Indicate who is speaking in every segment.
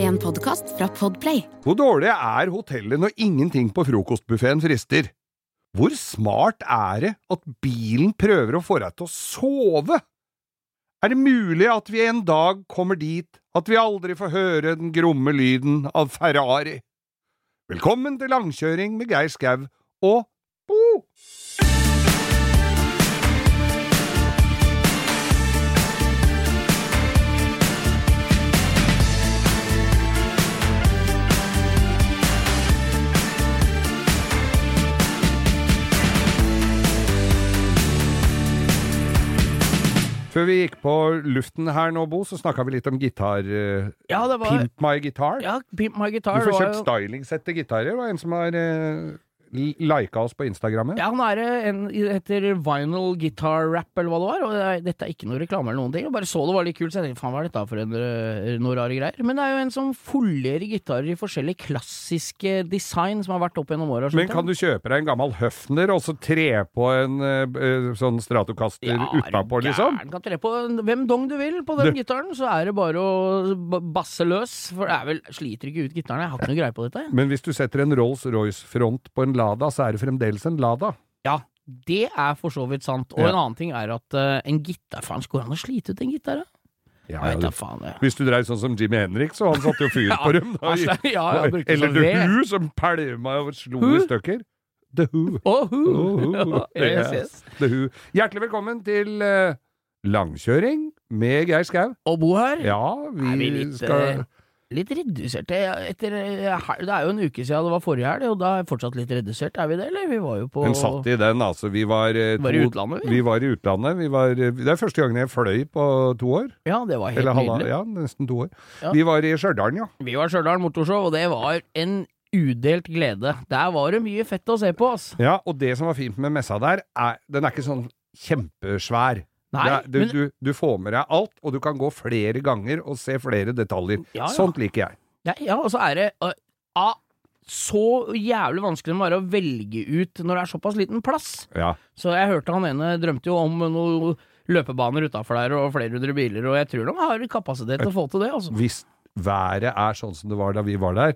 Speaker 1: En podkast fra Podplay.
Speaker 2: Hvor dårlig er hotellet når ingenting på frokostbuffeen frister? Hvor smart er det at bilen prøver å få deg til å sove? Er det mulig at vi en dag kommer dit at vi aldri får høre den gromme lyden av Ferrari? Velkommen til langkjøring med Geir Skau og Bo! Før vi gikk på luften her nå, Bo, så snakka vi litt om gitar... eh,
Speaker 3: Ja, det var-
Speaker 2: Pimp my guitar.
Speaker 3: Ja, Pimp My Guitar.
Speaker 2: Du får
Speaker 3: var
Speaker 2: kjøpt
Speaker 3: jo-
Speaker 2: stylingsett til gitarer. Det var en som har uh, lika oss på Instagrammet.
Speaker 3: Ja, han er eh, en heter Vinyl Guitar Rap, eller hva det var. Og det er, dette er ikke noe reklame eller noen ting. Jeg bare så det var litt kult, så jeg tenkte faen, hva er dette for en, eh, noe rare greier? Men det er jo en som folderer gitarer i forskjellige klassiske design som har vært opp gjennom åra.
Speaker 2: Men kan du kjøpe deg en gammel Høfner og så tre på en eh, eh, sånn Stratocaster utapå, liksom?
Speaker 3: Gæren kan tre på hvem dong du vil på den gitaren, så er det bare å ba- basse løs. For det er vel Sliter ikke ut gitaren, jeg har ikke noe greie på dette.
Speaker 2: Men hvis du setter en Rolls-Royce-front på en Lada, så er det fremdeles en Lada.
Speaker 3: Ja, det er for så vidt sant. Og
Speaker 2: Ja.
Speaker 3: en annen ting er at eh, en gitar Faen, skulle han ha slitt ut en gitar, da? Jeg vet da faen, jeg.
Speaker 2: Hvis du dreiv sånn som Jimmy Henrik, så han satte jo fyr på dem. Da.
Speaker 3: altså, ja, jeg brukte
Speaker 2: Eller
Speaker 3: sånn
Speaker 2: The
Speaker 3: ved.
Speaker 2: Who, som pælma og slo
Speaker 3: Who?
Speaker 2: i stykker. The Who.
Speaker 3: Åh,
Speaker 2: Oh,
Speaker 3: hu. yes, yes.
Speaker 2: yes. The Who. Hjertelig velkommen til eh, Langkjøring med Geir Skau.
Speaker 3: Og Bo her,
Speaker 2: Ja, vi,
Speaker 3: er vi litt, eh,
Speaker 2: skal
Speaker 3: litt reduserte etter eh, hel- Det er jo en uke siden det var forrige helg, og da er jeg fortsatt litt redusert, er vi det, eller? Vi var jo på
Speaker 2: Den satt i den, altså. Vi var, eh,
Speaker 3: Var i
Speaker 2: to-
Speaker 3: utlandet, vi.
Speaker 2: vi. var i utlandet. Vi var, eh, det er første gangen jeg fløy på to år.
Speaker 3: Ja, det var helt
Speaker 2: Eller halva,
Speaker 3: nydelig.
Speaker 2: ja, nesten to år.
Speaker 3: Ja.
Speaker 2: Vi var i Stjørdal, ja.
Speaker 3: Vi var Stjørdal Motorshow, og det var en udelt glede. Der var det mye fett å se på, ass.
Speaker 2: ja. Og det som var fint med messa der, er den er ikke sånn kjempesvær.
Speaker 3: Nei,
Speaker 2: det er, du,
Speaker 3: men-
Speaker 2: du, du får med deg alt, og du kan gå flere ganger og se flere detaljer.
Speaker 3: Ja, ja.
Speaker 2: Sånt liker jeg.
Speaker 3: Ja, ja og så er det øh, ah, så jævlig vanskelig det må være å velge ut når det er såpass liten plass.
Speaker 2: Ja.
Speaker 3: Så jeg hørte han ene drømte jo om noen løpebaner utafor der og flere hundre biler, og jeg tror de har kapasitet til å få til det, altså.
Speaker 2: Hvis været er sånn som det var da vi var der,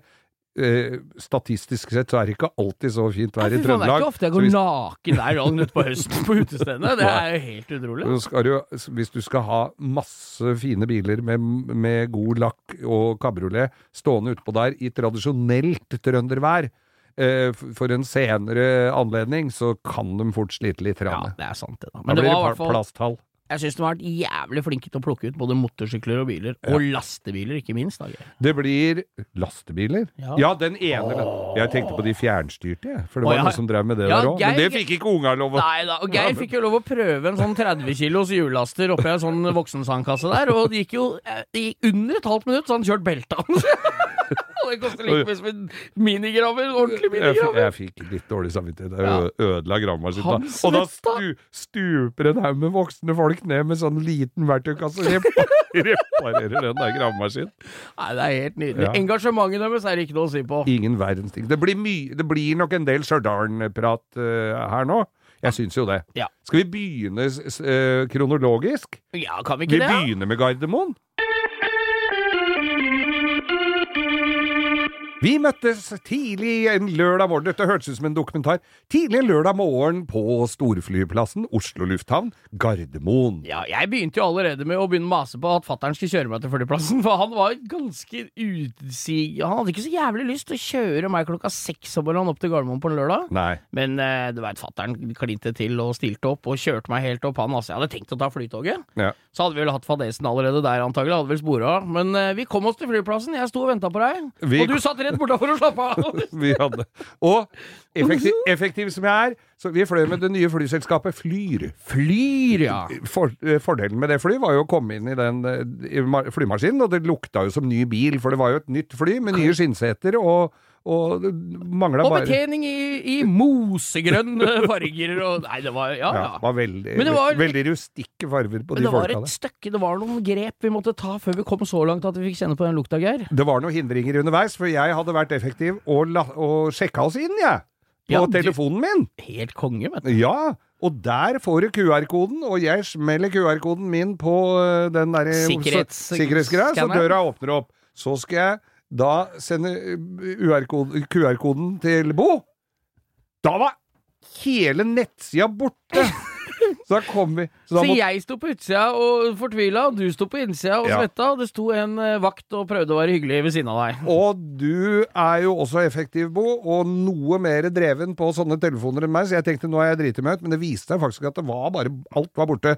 Speaker 2: eh, statistisk sett så er det ikke alltid så fint vær i
Speaker 3: Fy faen, det er
Speaker 2: Trøndelag.
Speaker 3: ikke ofte jeg
Speaker 2: så
Speaker 3: går
Speaker 2: hvis-
Speaker 3: naken der dagen utpå høsten på utestedene. Det er jo helt utrolig.
Speaker 2: Så skal du, hvis du skal ha masse fine biler med, med god lakk og kabriolet stående utpå der i tradisjonelt trøndervær eh, f- for en senere anledning, så kan de fort slite litt.
Speaker 3: Ja,
Speaker 2: rann.
Speaker 3: det er sant, det. da.
Speaker 2: da
Speaker 3: Men det
Speaker 2: blir
Speaker 3: var i
Speaker 2: det pla-
Speaker 3: hvert fall
Speaker 2: plasthall.
Speaker 3: Jeg syns de har vært jævlig flinke til å plukke ut både motorsykler og biler. Og lastebiler, ikke minst. da, Geir.
Speaker 2: Det blir lastebiler.
Speaker 3: Ja.
Speaker 2: Ja, den ene. Jeg tenkte på de fjernstyrte, jeg. For det
Speaker 3: Å,
Speaker 2: var
Speaker 3: ja.
Speaker 2: noen som drev med det
Speaker 3: Ja,
Speaker 2: der òg.
Speaker 3: Geir-
Speaker 2: Men det fikk ikke unga lov å
Speaker 3: Nei da. Og Geir fikk jo lov å prøve en sånn 30 kilos hjullaster oppi en sånn voksensandkasse der, og det gikk jo eh, det gikk under et halvt minutt, så han kjørte beltet hans. Og det koster like mye som en minigraver. Ordentlig
Speaker 2: jeg, f-
Speaker 3: minigraver.
Speaker 2: jeg fikk litt dårlig samvittighet. Jeg
Speaker 3: Ja.
Speaker 2: ø- ødela
Speaker 3: Han
Speaker 2: gravemaskinen. Og da stu,
Speaker 3: svetta.
Speaker 2: stuper en haug med voksne folk ned med sånn liten verktøykasse og repa- reparerer den der gravemaskinen.
Speaker 3: Nei, det er helt nydelig.
Speaker 2: Ja.
Speaker 3: Engasjementet deres er det ikke noe å si på.
Speaker 2: Ingen verdens ting. Det blir, mye- det blir nok en del Stjørdal-prat ø, her nå. Jeg syns jo det.
Speaker 3: Ja.
Speaker 2: Skal vi begynne s- s- ø, kronologisk?
Speaker 3: Ja, kan vi
Speaker 2: Vi
Speaker 3: ikke det? da?
Speaker 2: begynner med Gardermoen. Vi møttes tidlig en lørdag morgen, dette hørtes ut som en dokumentar, tidlig en lørdag morgen på storflyplassen, Oslo lufthavn, Gardermoen.
Speaker 3: Ja, jeg begynte jo allerede med å begynne å mase på at fattern skulle kjøre meg til flyplassen, for han var ganske utsig... Han hadde ikke så jævlig lyst til å kjøre meg klokka seks om morgenen opp til Gardermoen på en lørdag.
Speaker 2: Nei.
Speaker 3: Men eh, du veit, fattern klinte til og stilte opp og kjørte meg helt opp. Han altså, jeg hadde tenkt å ta flytoget.
Speaker 2: Ja.
Speaker 3: Så hadde vi vel hatt fadesen allerede der, antagelig. Hadde vel spora. Men eh, vi kom oss til flyplassen. Jeg sto og venta på deg.
Speaker 2: Vi-
Speaker 3: Og du satt rett bortafor og slappa av.
Speaker 2: Vi hadde. Og effektiv, effektiv som jeg er, så vi fløy med det nye flyselskapet Flyr.
Speaker 3: Flyr, ja.
Speaker 2: For, eh, fordelen med det flyet var jo å komme inn i den eh, i ma- flymaskinen, og det lukta jo som ny bil, for det var jo et nytt fly med nye skinnseter, og, og det mangla
Speaker 3: Og
Speaker 2: bare
Speaker 3: betjening i, i mosegrønne farger og Nei, det var Ja,
Speaker 2: Ja, det
Speaker 3: ja.
Speaker 2: var veldig,
Speaker 3: Men det var-
Speaker 2: veldig rustikke farver på
Speaker 3: Men
Speaker 2: de
Speaker 3: det var
Speaker 2: folka
Speaker 3: et
Speaker 2: der.
Speaker 3: stykke, det var noen grep vi måtte ta før vi kom så langt at vi fikk kjenne på den lukta, Geir.
Speaker 2: Det var noen hindringer underveis, for jeg hadde vært effektiv og, la, og sjekka oss inn, jeg. På
Speaker 3: Ja, du-
Speaker 2: telefonen min.
Speaker 3: Helt konge, vet du.
Speaker 2: Ja. Og der får du QR-koden, og jeg smeller QR-koden min på øh, den derre
Speaker 3: Sikkerhets-
Speaker 2: sikkerhetsgreia, så
Speaker 3: skanneren.
Speaker 2: døra åpner opp. Så skal jeg Da eh, sender UR-koden QR-koden til Bo. Da var hele nettsida borte! Så da kom vi Så da
Speaker 3: Så
Speaker 2: måtte
Speaker 3: jeg sto på utsida og fortvila, og du sto på innsida og
Speaker 2: Ja.
Speaker 3: svetta, og det sto en eh, vakt og prøvde å være hyggelig ved siden av deg.
Speaker 2: Og du er jo også effektiv, Bo, og noe mer dreven på sånne telefoner enn meg, så jeg tenkte nå er jeg driti meg ut, men det viste seg faktisk at det var bare Alt var borte.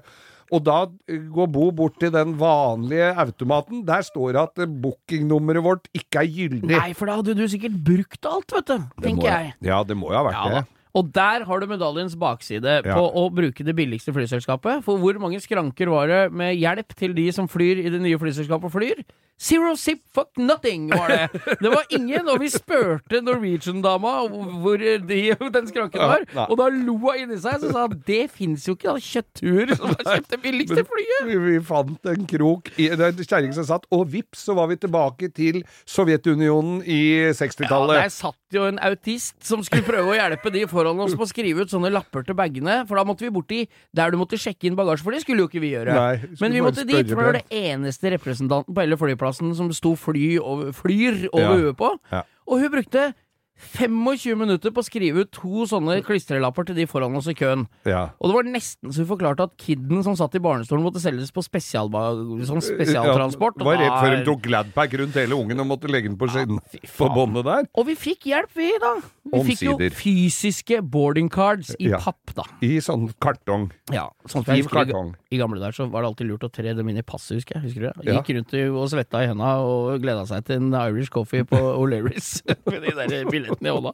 Speaker 2: Og da eh, går Bo bort til den vanlige automaten. Der står det at eh, bookingnummeret vårt ikke er gyldig.
Speaker 3: Nei, for da hadde du sikkert brukt alt, vet du,
Speaker 2: Det må
Speaker 3: tenker jeg.
Speaker 2: Ja, det må jo ha vært
Speaker 3: Ja da.
Speaker 2: det.
Speaker 3: Og der har du medaljens bakside
Speaker 2: Ja.
Speaker 3: på å bruke det billigste flyselskapet. For hvor mange skranker var det med hjelp til de som flyr i det nye flyselskapet og flyr? Zero zip fuck nothing, var det. Det var ingen, og vi spurte Norwegian-dama hvor de, den skranken
Speaker 2: Ja,
Speaker 3: var.
Speaker 2: nei.
Speaker 3: Og da lo hun inni seg og sa at det fins jo ikke, da. Kjøttur som har kjøpt det billigste flyet.
Speaker 2: Vi, vi fant en krok i det er en kjerring som satt, og vips, så var vi tilbake til Sovjetunionen i
Speaker 3: Ja,
Speaker 2: 60-tallet.
Speaker 3: der satt jo en autist som skulle prøve å hjelpe de foran oss på å skrive ut sånne lapper til bagene, for da måtte vi borti der du måtte sjekke inn bagasje, for det skulle jo ikke vi gjøre.
Speaker 2: Nei, skulle
Speaker 3: Men vi
Speaker 2: bare
Speaker 3: måtte dit,
Speaker 2: spørre
Speaker 3: for det var
Speaker 2: pent.
Speaker 3: det eneste representanten på hele flyplassen som sto fly over, flyr over
Speaker 2: Ja.
Speaker 3: huet på.
Speaker 2: Ja.
Speaker 3: Og hun brukte 25 minutter på å skrive ut to sånne klistrelapper til de foran oss i køen.
Speaker 2: Ja.
Speaker 3: Og det var nesten så hun forklarte at kidden som satt i barnestolen, måtte selges på spesialba sånn spesialtransport.
Speaker 2: Ja, var redd før de
Speaker 3: og da-
Speaker 2: tok Gladpack rundt hele ungen og måtte legge den på siden på båndet der.
Speaker 3: Og vi fikk hjelp, vi, da. Vi fikk jo
Speaker 2: Omsider.
Speaker 3: fysiske boarding cards i
Speaker 2: Ja.
Speaker 3: papp, da.
Speaker 2: I sånn kartong.
Speaker 3: Ja, sånn som jeg
Speaker 2: Stiv
Speaker 3: husker i,
Speaker 2: kartong.
Speaker 3: I gamle dager så var det alltid lurt å tre dem inn i passet, husker jeg. Husker du det?
Speaker 2: Ja.
Speaker 3: Gikk rundt i- og svetta i henda og gleda seg til en Irish coffee på O'Learys med de der billettene i hånda.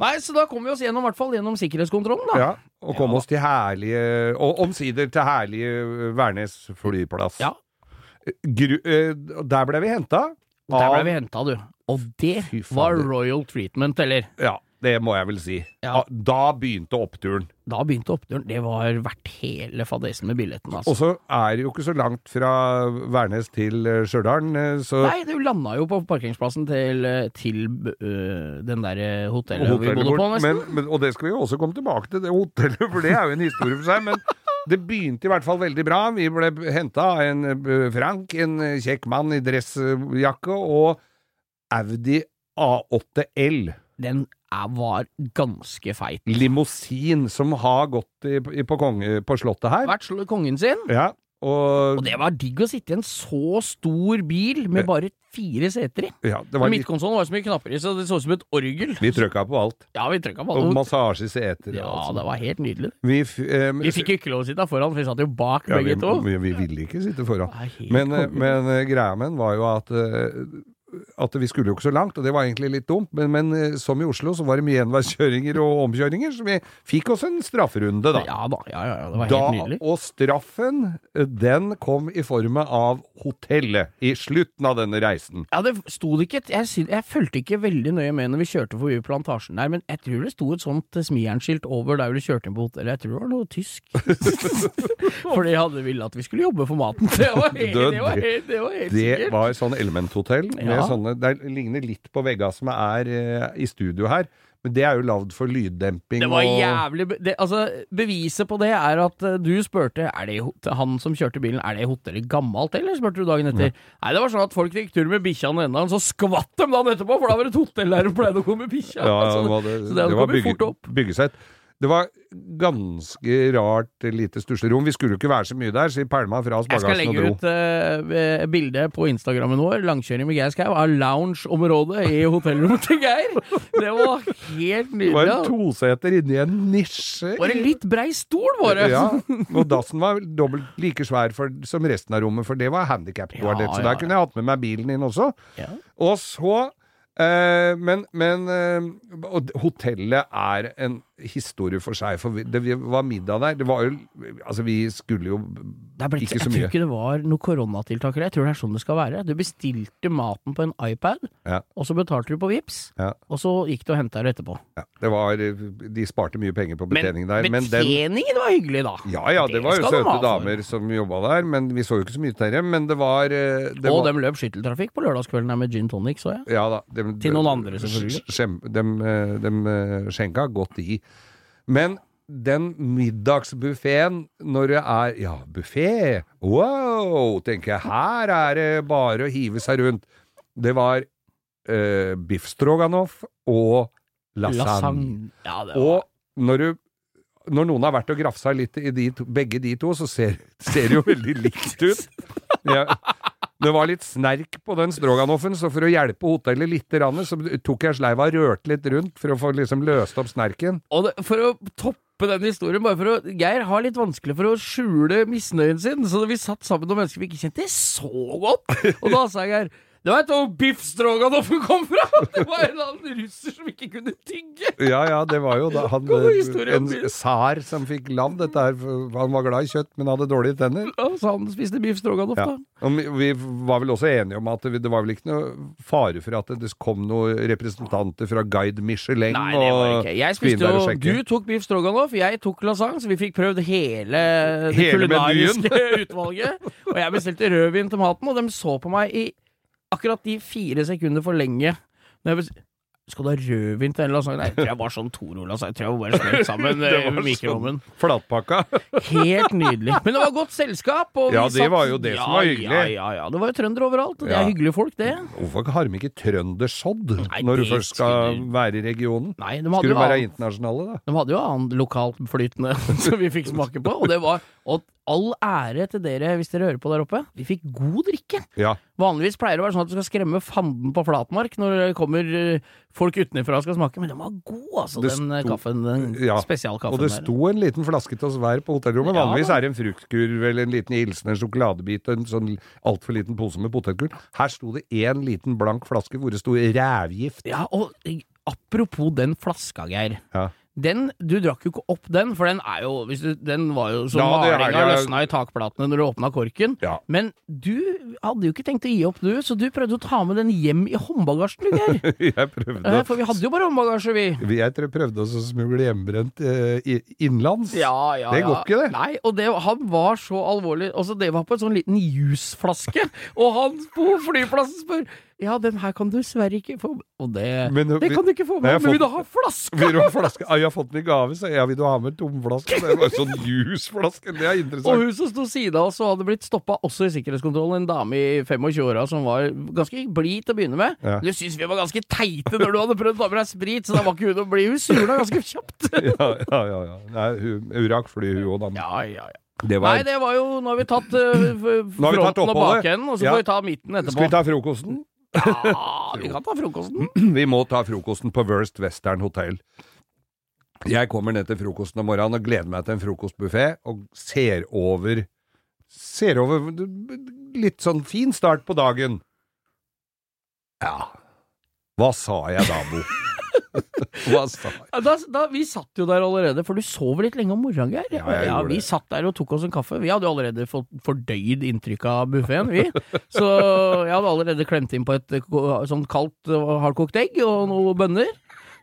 Speaker 3: Nei, så da kom vi oss gjennom, i hvert fall gjennom sikkerhetskontrollen, da.
Speaker 2: Ja, og kom oss til herlige Og omsider til herlige Værnes flyplass.
Speaker 3: Ja.
Speaker 2: Gru, eh, der ble vi henta.
Speaker 3: Og Der ble vi henta, du. Og det
Speaker 2: Fy fader.
Speaker 3: var royal treatment, eller?
Speaker 2: Ja, det må jeg vel si.
Speaker 3: Ja.
Speaker 2: Ah, Da begynte oppturen.
Speaker 3: Da begynte oppturen. Det var verdt hele fadesen med billetten, altså.
Speaker 2: Og så er det jo ikke så langt fra Værnes til eh, Stjørdal, eh, så
Speaker 3: Nei, du landa jo på parkeringsplassen til, eh, til øh, den der øh, hotellet, vi
Speaker 2: hotellet
Speaker 3: bodde på,
Speaker 2: vårt.
Speaker 3: nesten.
Speaker 2: Men, men, og det skal vi jo også komme tilbake til, det hotellet, for det er jo en historie for seg. Men det begynte i hvert fall veldig bra. Vi ble henta av en eh, Frank, en eh, kjekk mann i dressjakke, og Audi A8L.
Speaker 3: Den er, var ganske feit.
Speaker 2: Limousin som har gått i, i, på, konge, på slottet her.
Speaker 3: Vært sl- kongen sin,
Speaker 2: Ja, og,
Speaker 3: og det var digg å sitte i en så stor bil med bare fire seter i.
Speaker 2: ja, det var litt,
Speaker 3: Midtkonsollen var så mye knapper i, så det så ut som et orgel.
Speaker 2: vi trøkka på alt.
Speaker 3: Ja, vi trykka på
Speaker 2: Og
Speaker 3: alle.
Speaker 2: massasje i seter. og
Speaker 3: Ja,
Speaker 2: alt sånt.
Speaker 3: det var helt nydelig.
Speaker 2: Vi, f- eh, men-
Speaker 3: Vi fikk jo ikke lov å sitte foran, for vi satt jo bak
Speaker 2: ja, vi,
Speaker 3: begge to.
Speaker 2: vi, vi ville ikke sitte foran.
Speaker 3: Det er helt
Speaker 2: Men, eh,
Speaker 3: konge.
Speaker 2: men eh, greia med den var jo at eh, at vi skulle jo ikke så langt, og det var egentlig litt dumt, men, men eh, som i Oslo så var det mye enveiskjøringer og omkjøringer, så vi fikk oss en strafferunde, da.
Speaker 3: Ja da, ja, ja, ja, det var
Speaker 2: da
Speaker 3: helt nydelig.
Speaker 2: og straffen, eh, den kom i form av hotellet i slutten av denne reisen.
Speaker 3: Ja, det sto det ikke et- jeg, syn- jeg fulgte ikke veldig nøye med når vi kjørte forbi plantasjen der, men jeg tror det sto et sånt eh, smiernskilt over der vi kjørte inn på hotellet. Jeg tror det var noe tysk. for de hadde villet at vi skulle jobbe for maten. Det var helt,
Speaker 2: Du,
Speaker 3: det var
Speaker 2: det-
Speaker 3: helt, det var helt
Speaker 2: Det
Speaker 3: sikkert.
Speaker 2: var sånn elementhotell, med
Speaker 3: Ja.
Speaker 2: sånne, det ligner litt på vegga som er eh, i studio her, men det er jo lavd for lyddemping
Speaker 3: Det var
Speaker 2: og
Speaker 3: jævlig be- det, Altså, beviset på det er at eh, du spurte Er det hot- han som kjørte bilen, er det hotellet gammelt, eller? spurte du dagen etter. Nei, det var sånn at folk gikk tur med bikkja og enda, så skvatt de dagen etterpå, for da var det et hotell der de pleide å gå med bikkja.
Speaker 2: Ja, ja,
Speaker 3: Så
Speaker 2: det
Speaker 3: det-
Speaker 2: var det,
Speaker 3: altså, så det hadde
Speaker 2: det var
Speaker 3: kommet
Speaker 2: bygge,
Speaker 3: fort opp.
Speaker 2: byggesett. Det var ganske rart lite stuslerom. Vi skulle jo ikke være så mye der, så vi pælma fra oss
Speaker 3: Jeg skal
Speaker 2: bagasjen og
Speaker 3: legge
Speaker 2: dro.
Speaker 3: ut uh, bilde på Instagrammen vår, langkjøring med Geir Skau, av loungeområdet i hotellrommet til Geir. Det var helt
Speaker 2: Det var en
Speaker 3: nydelig.
Speaker 2: toseter inni en nisje.
Speaker 3: Bare litt brei stol, bare.
Speaker 2: Ja, og dassen var dobbelt like svær for, som resten av rommet, for det var handikaptoalett,
Speaker 3: Ja,
Speaker 2: så
Speaker 3: ja,
Speaker 2: der kunne jeg hatt med meg bilen inn også.
Speaker 3: Ja.
Speaker 2: Og så eh, Men, men eh, og d- hotellet er en historie for seg, for vi, det vi var middag der. Det var jo Altså, vi skulle jo
Speaker 3: Det er blitt,
Speaker 2: ikke så
Speaker 3: Jeg tror
Speaker 2: mye.
Speaker 3: ikke det var noe koronatiltak der. Jeg tror det er sånn det skal være. Du bestilte maten på en iPad,
Speaker 2: Ja.
Speaker 3: og så betalte du på Vipps,
Speaker 2: Ja.
Speaker 3: og så gikk du og henta det etterpå.
Speaker 2: Ja, det var, de sparte mye penger på betjeningen der. Men den,
Speaker 3: betjeningen var hyggelig, da!
Speaker 2: ja, ja, det,
Speaker 3: Det
Speaker 2: var jo
Speaker 3: skal de ha altså.
Speaker 2: søte
Speaker 3: for.
Speaker 2: damer som jobba der, men vi så jo ikke så mye til dem. Men det var, eh, det
Speaker 3: og
Speaker 2: var
Speaker 3: dem løp skytteltrafikk på lørdagskvelden her med gin tonic, så jeg.
Speaker 2: ja, da, dem-
Speaker 3: Til noen andre, selvfølgelig.
Speaker 2: sk- Skjem, dem, eh, dem eh, skjenka godt i. Men den middagsbuffeen når det er Ja, buffé! Wow! Tenker jeg, her er det bare å hive seg rundt. Det var eh, biff stroganoff og lasagne.
Speaker 3: Lasagne. Ja, det var
Speaker 2: Og når du når noen har vært og grafsa litt i de to, begge de to, så ser, ser det jo veldig likt ut. Jeg, det var litt snerk på den stroganoffen, så for å hjelpe hotellet litt, rann, så tok jeg sleiva og rørte litt rundt for å få liksom løst opp snerken.
Speaker 3: Og det, for å toppe den historien, bare for å Geir har litt vanskelig for å skjule misnøyen sin, så da vi satt sammen med noen mennesker vi ikke kjente så godt, og da sa Geir Du veit hvor biff stroganoffen kom fra?! Det var en eller annen russer som ikke kunne tygge!
Speaker 2: Ja, ja, det var jo da han,
Speaker 3: God historie,
Speaker 2: en
Speaker 3: Bill.
Speaker 2: tsar som fikk lavd dette her. for Han var glad i kjøtt, men hadde dårlige tenner.
Speaker 3: Ja, så han spiste biff stroganoff,
Speaker 2: Ja.
Speaker 3: da.
Speaker 2: Og vi- vi var vel også enige om at det det var vel ikke noe fare for at det kom noen representanter fra Guide Michelin
Speaker 3: Nei, det var det
Speaker 2: og
Speaker 3: ikke. Jeg
Speaker 2: inn
Speaker 3: spiste
Speaker 2: der og
Speaker 3: jo
Speaker 2: sjekke.
Speaker 3: Du tok biff stroganoff, jeg tok lasagne, så vi fikk prøvd hele det
Speaker 2: Hele
Speaker 3: kulinariske utvalget. Og jeg bestilte rødvin til maten, og de så på meg i akkurat de fire sekunder for lenge. Når jeg bes- skal du ha rødvin til den lasagnen? Nei, Jeg tror jeg var sånn Toro-lasagne. Jeg tror jeg bare smelt sammen
Speaker 2: Det
Speaker 3: eh,
Speaker 2: var sånn
Speaker 3: i mikroovnen.
Speaker 2: Flatpakka.
Speaker 3: Helt nydelig. Men det var godt selskap. Og vi
Speaker 2: Ja, det
Speaker 3: satt-
Speaker 2: var jo det som var hyggelig.
Speaker 3: Ja, ja, ja. Det var jo trøndere overalt, og det
Speaker 2: Ja.
Speaker 3: er hyggelige folk, det.
Speaker 2: Hvorfor har de ikke trøndersodd
Speaker 3: Nei,
Speaker 2: når du
Speaker 3: det
Speaker 2: først skal
Speaker 3: skulle-
Speaker 2: være i regionen?
Speaker 3: Nei, de hadde
Speaker 2: Skulle
Speaker 3: jo
Speaker 2: du være
Speaker 3: annen-
Speaker 2: internasjonale, da?
Speaker 3: De hadde jo annet lokalt flytende som vi fikk smake på, og det var Og all ære til dere hvis dere hører på der oppe. Vi fikk god drikke.
Speaker 2: Ja.
Speaker 3: Vanligvis pleier det å være sånn at du skal skremme fanden på flatmark når det kommer eh, folk utenfra og skal smake, men den var god, altså,
Speaker 2: Det
Speaker 3: den eh,
Speaker 2: sto-
Speaker 3: kaffen. Den
Speaker 2: Ja,
Speaker 3: spesialkaffen
Speaker 2: Og det
Speaker 3: der.
Speaker 2: sto en liten flaske til oss hver på hotellrommet.
Speaker 3: Ja,
Speaker 2: Vanligvis
Speaker 3: da.
Speaker 2: er det en fruktkurv eller en liten hilsen, en sjokoladebit og en sånn altfor liten pose med potetgull. Her sto det én liten blank flaske hvor det sto rævgift.
Speaker 3: Ja, og eh, apropos den flaska, Geir.
Speaker 2: Ja.
Speaker 3: Den, Du drakk jo ikke opp den, for den er jo hvis du, Den var jo som
Speaker 2: Ja, det er
Speaker 3: malinga
Speaker 2: det.
Speaker 3: løsna i takplatene når du åpna korken.
Speaker 2: Ja.
Speaker 3: Men du hadde jo ikke tenkt å gi opp, du, så du prøvde å ta med den hjem i håndbagasjen, du, Geir.
Speaker 2: Jeg prøvde
Speaker 3: Eh,
Speaker 2: å
Speaker 3: For vi hadde jo bare håndbagasje, vi.
Speaker 2: Jeg tror jeg prøvde også å smugle hjemmebrent eh, i- innenlands.
Speaker 3: Ja, ja,
Speaker 2: Det går
Speaker 3: ja.
Speaker 2: ikke, det.
Speaker 3: Nei, og det, han var så alvorlig. Også det var på en sånn liten jusflaske, og han på flyplassen spør Ja, den her kan du dessverre ikke få Og det,
Speaker 2: Men,
Speaker 3: det
Speaker 2: vi-
Speaker 3: kan du ikke få
Speaker 2: Nei, jeg har
Speaker 3: med, men vil du
Speaker 2: fått-
Speaker 3: ha flaska?
Speaker 2: Vil du ha flaske? Ah, jeg har fått den i gave, så ja, vil du ha med en tomflaske? Det var en sånn jusflaske, det er
Speaker 3: Og
Speaker 2: interessant.
Speaker 3: hun som sto siden av oss og hadde blitt stoppa også i sikkerhetskontrollen, en dame i 25-åra som var ganske blid til å begynne med.
Speaker 2: Ja.
Speaker 3: Du syntes vi var ganske teite når du hadde prøvd å ta med deg sprit, så da var ikke hun å bli. Hun surna ganske kjapt.
Speaker 2: Ja, ja, ja. ja. Nei, hun, hun rakk flyet, hun òg, da.
Speaker 3: Ja, ja, ja.
Speaker 2: Det var-
Speaker 3: Nei, det var jo Nå har vi tatt eh, f-
Speaker 2: Nå har vi tatt
Speaker 3: fronten og
Speaker 2: oppholdet.
Speaker 3: bakenden, og så
Speaker 2: Ja.
Speaker 3: får vi ta midten etterpå.
Speaker 2: Skal vi ta frokosten?
Speaker 3: Ja, vi kan ta frokosten.
Speaker 2: Vi må ta frokosten på Worst Western Hotel. Jeg kommer ned til frokosten om morgenen og gleder meg til en frokostbuffé, og ser over Ser over Litt sånn fin start på dagen. Ja Hva sa jeg da, Bo? Hva sa jeg?
Speaker 3: Da, da, vi satt jo der allerede, for du sov litt lenge om morgenen, Geir.
Speaker 2: Ja, jeg gjorde
Speaker 3: vi
Speaker 2: det.
Speaker 3: satt der og tok oss en kaffe. Vi hadde jo allerede fått fordøyd inntrykk av buffeen, vi. Så jeg hadde allerede klemt inn på et eh, ko- sånn kaldt eh, hardkokt egg og noen bønner.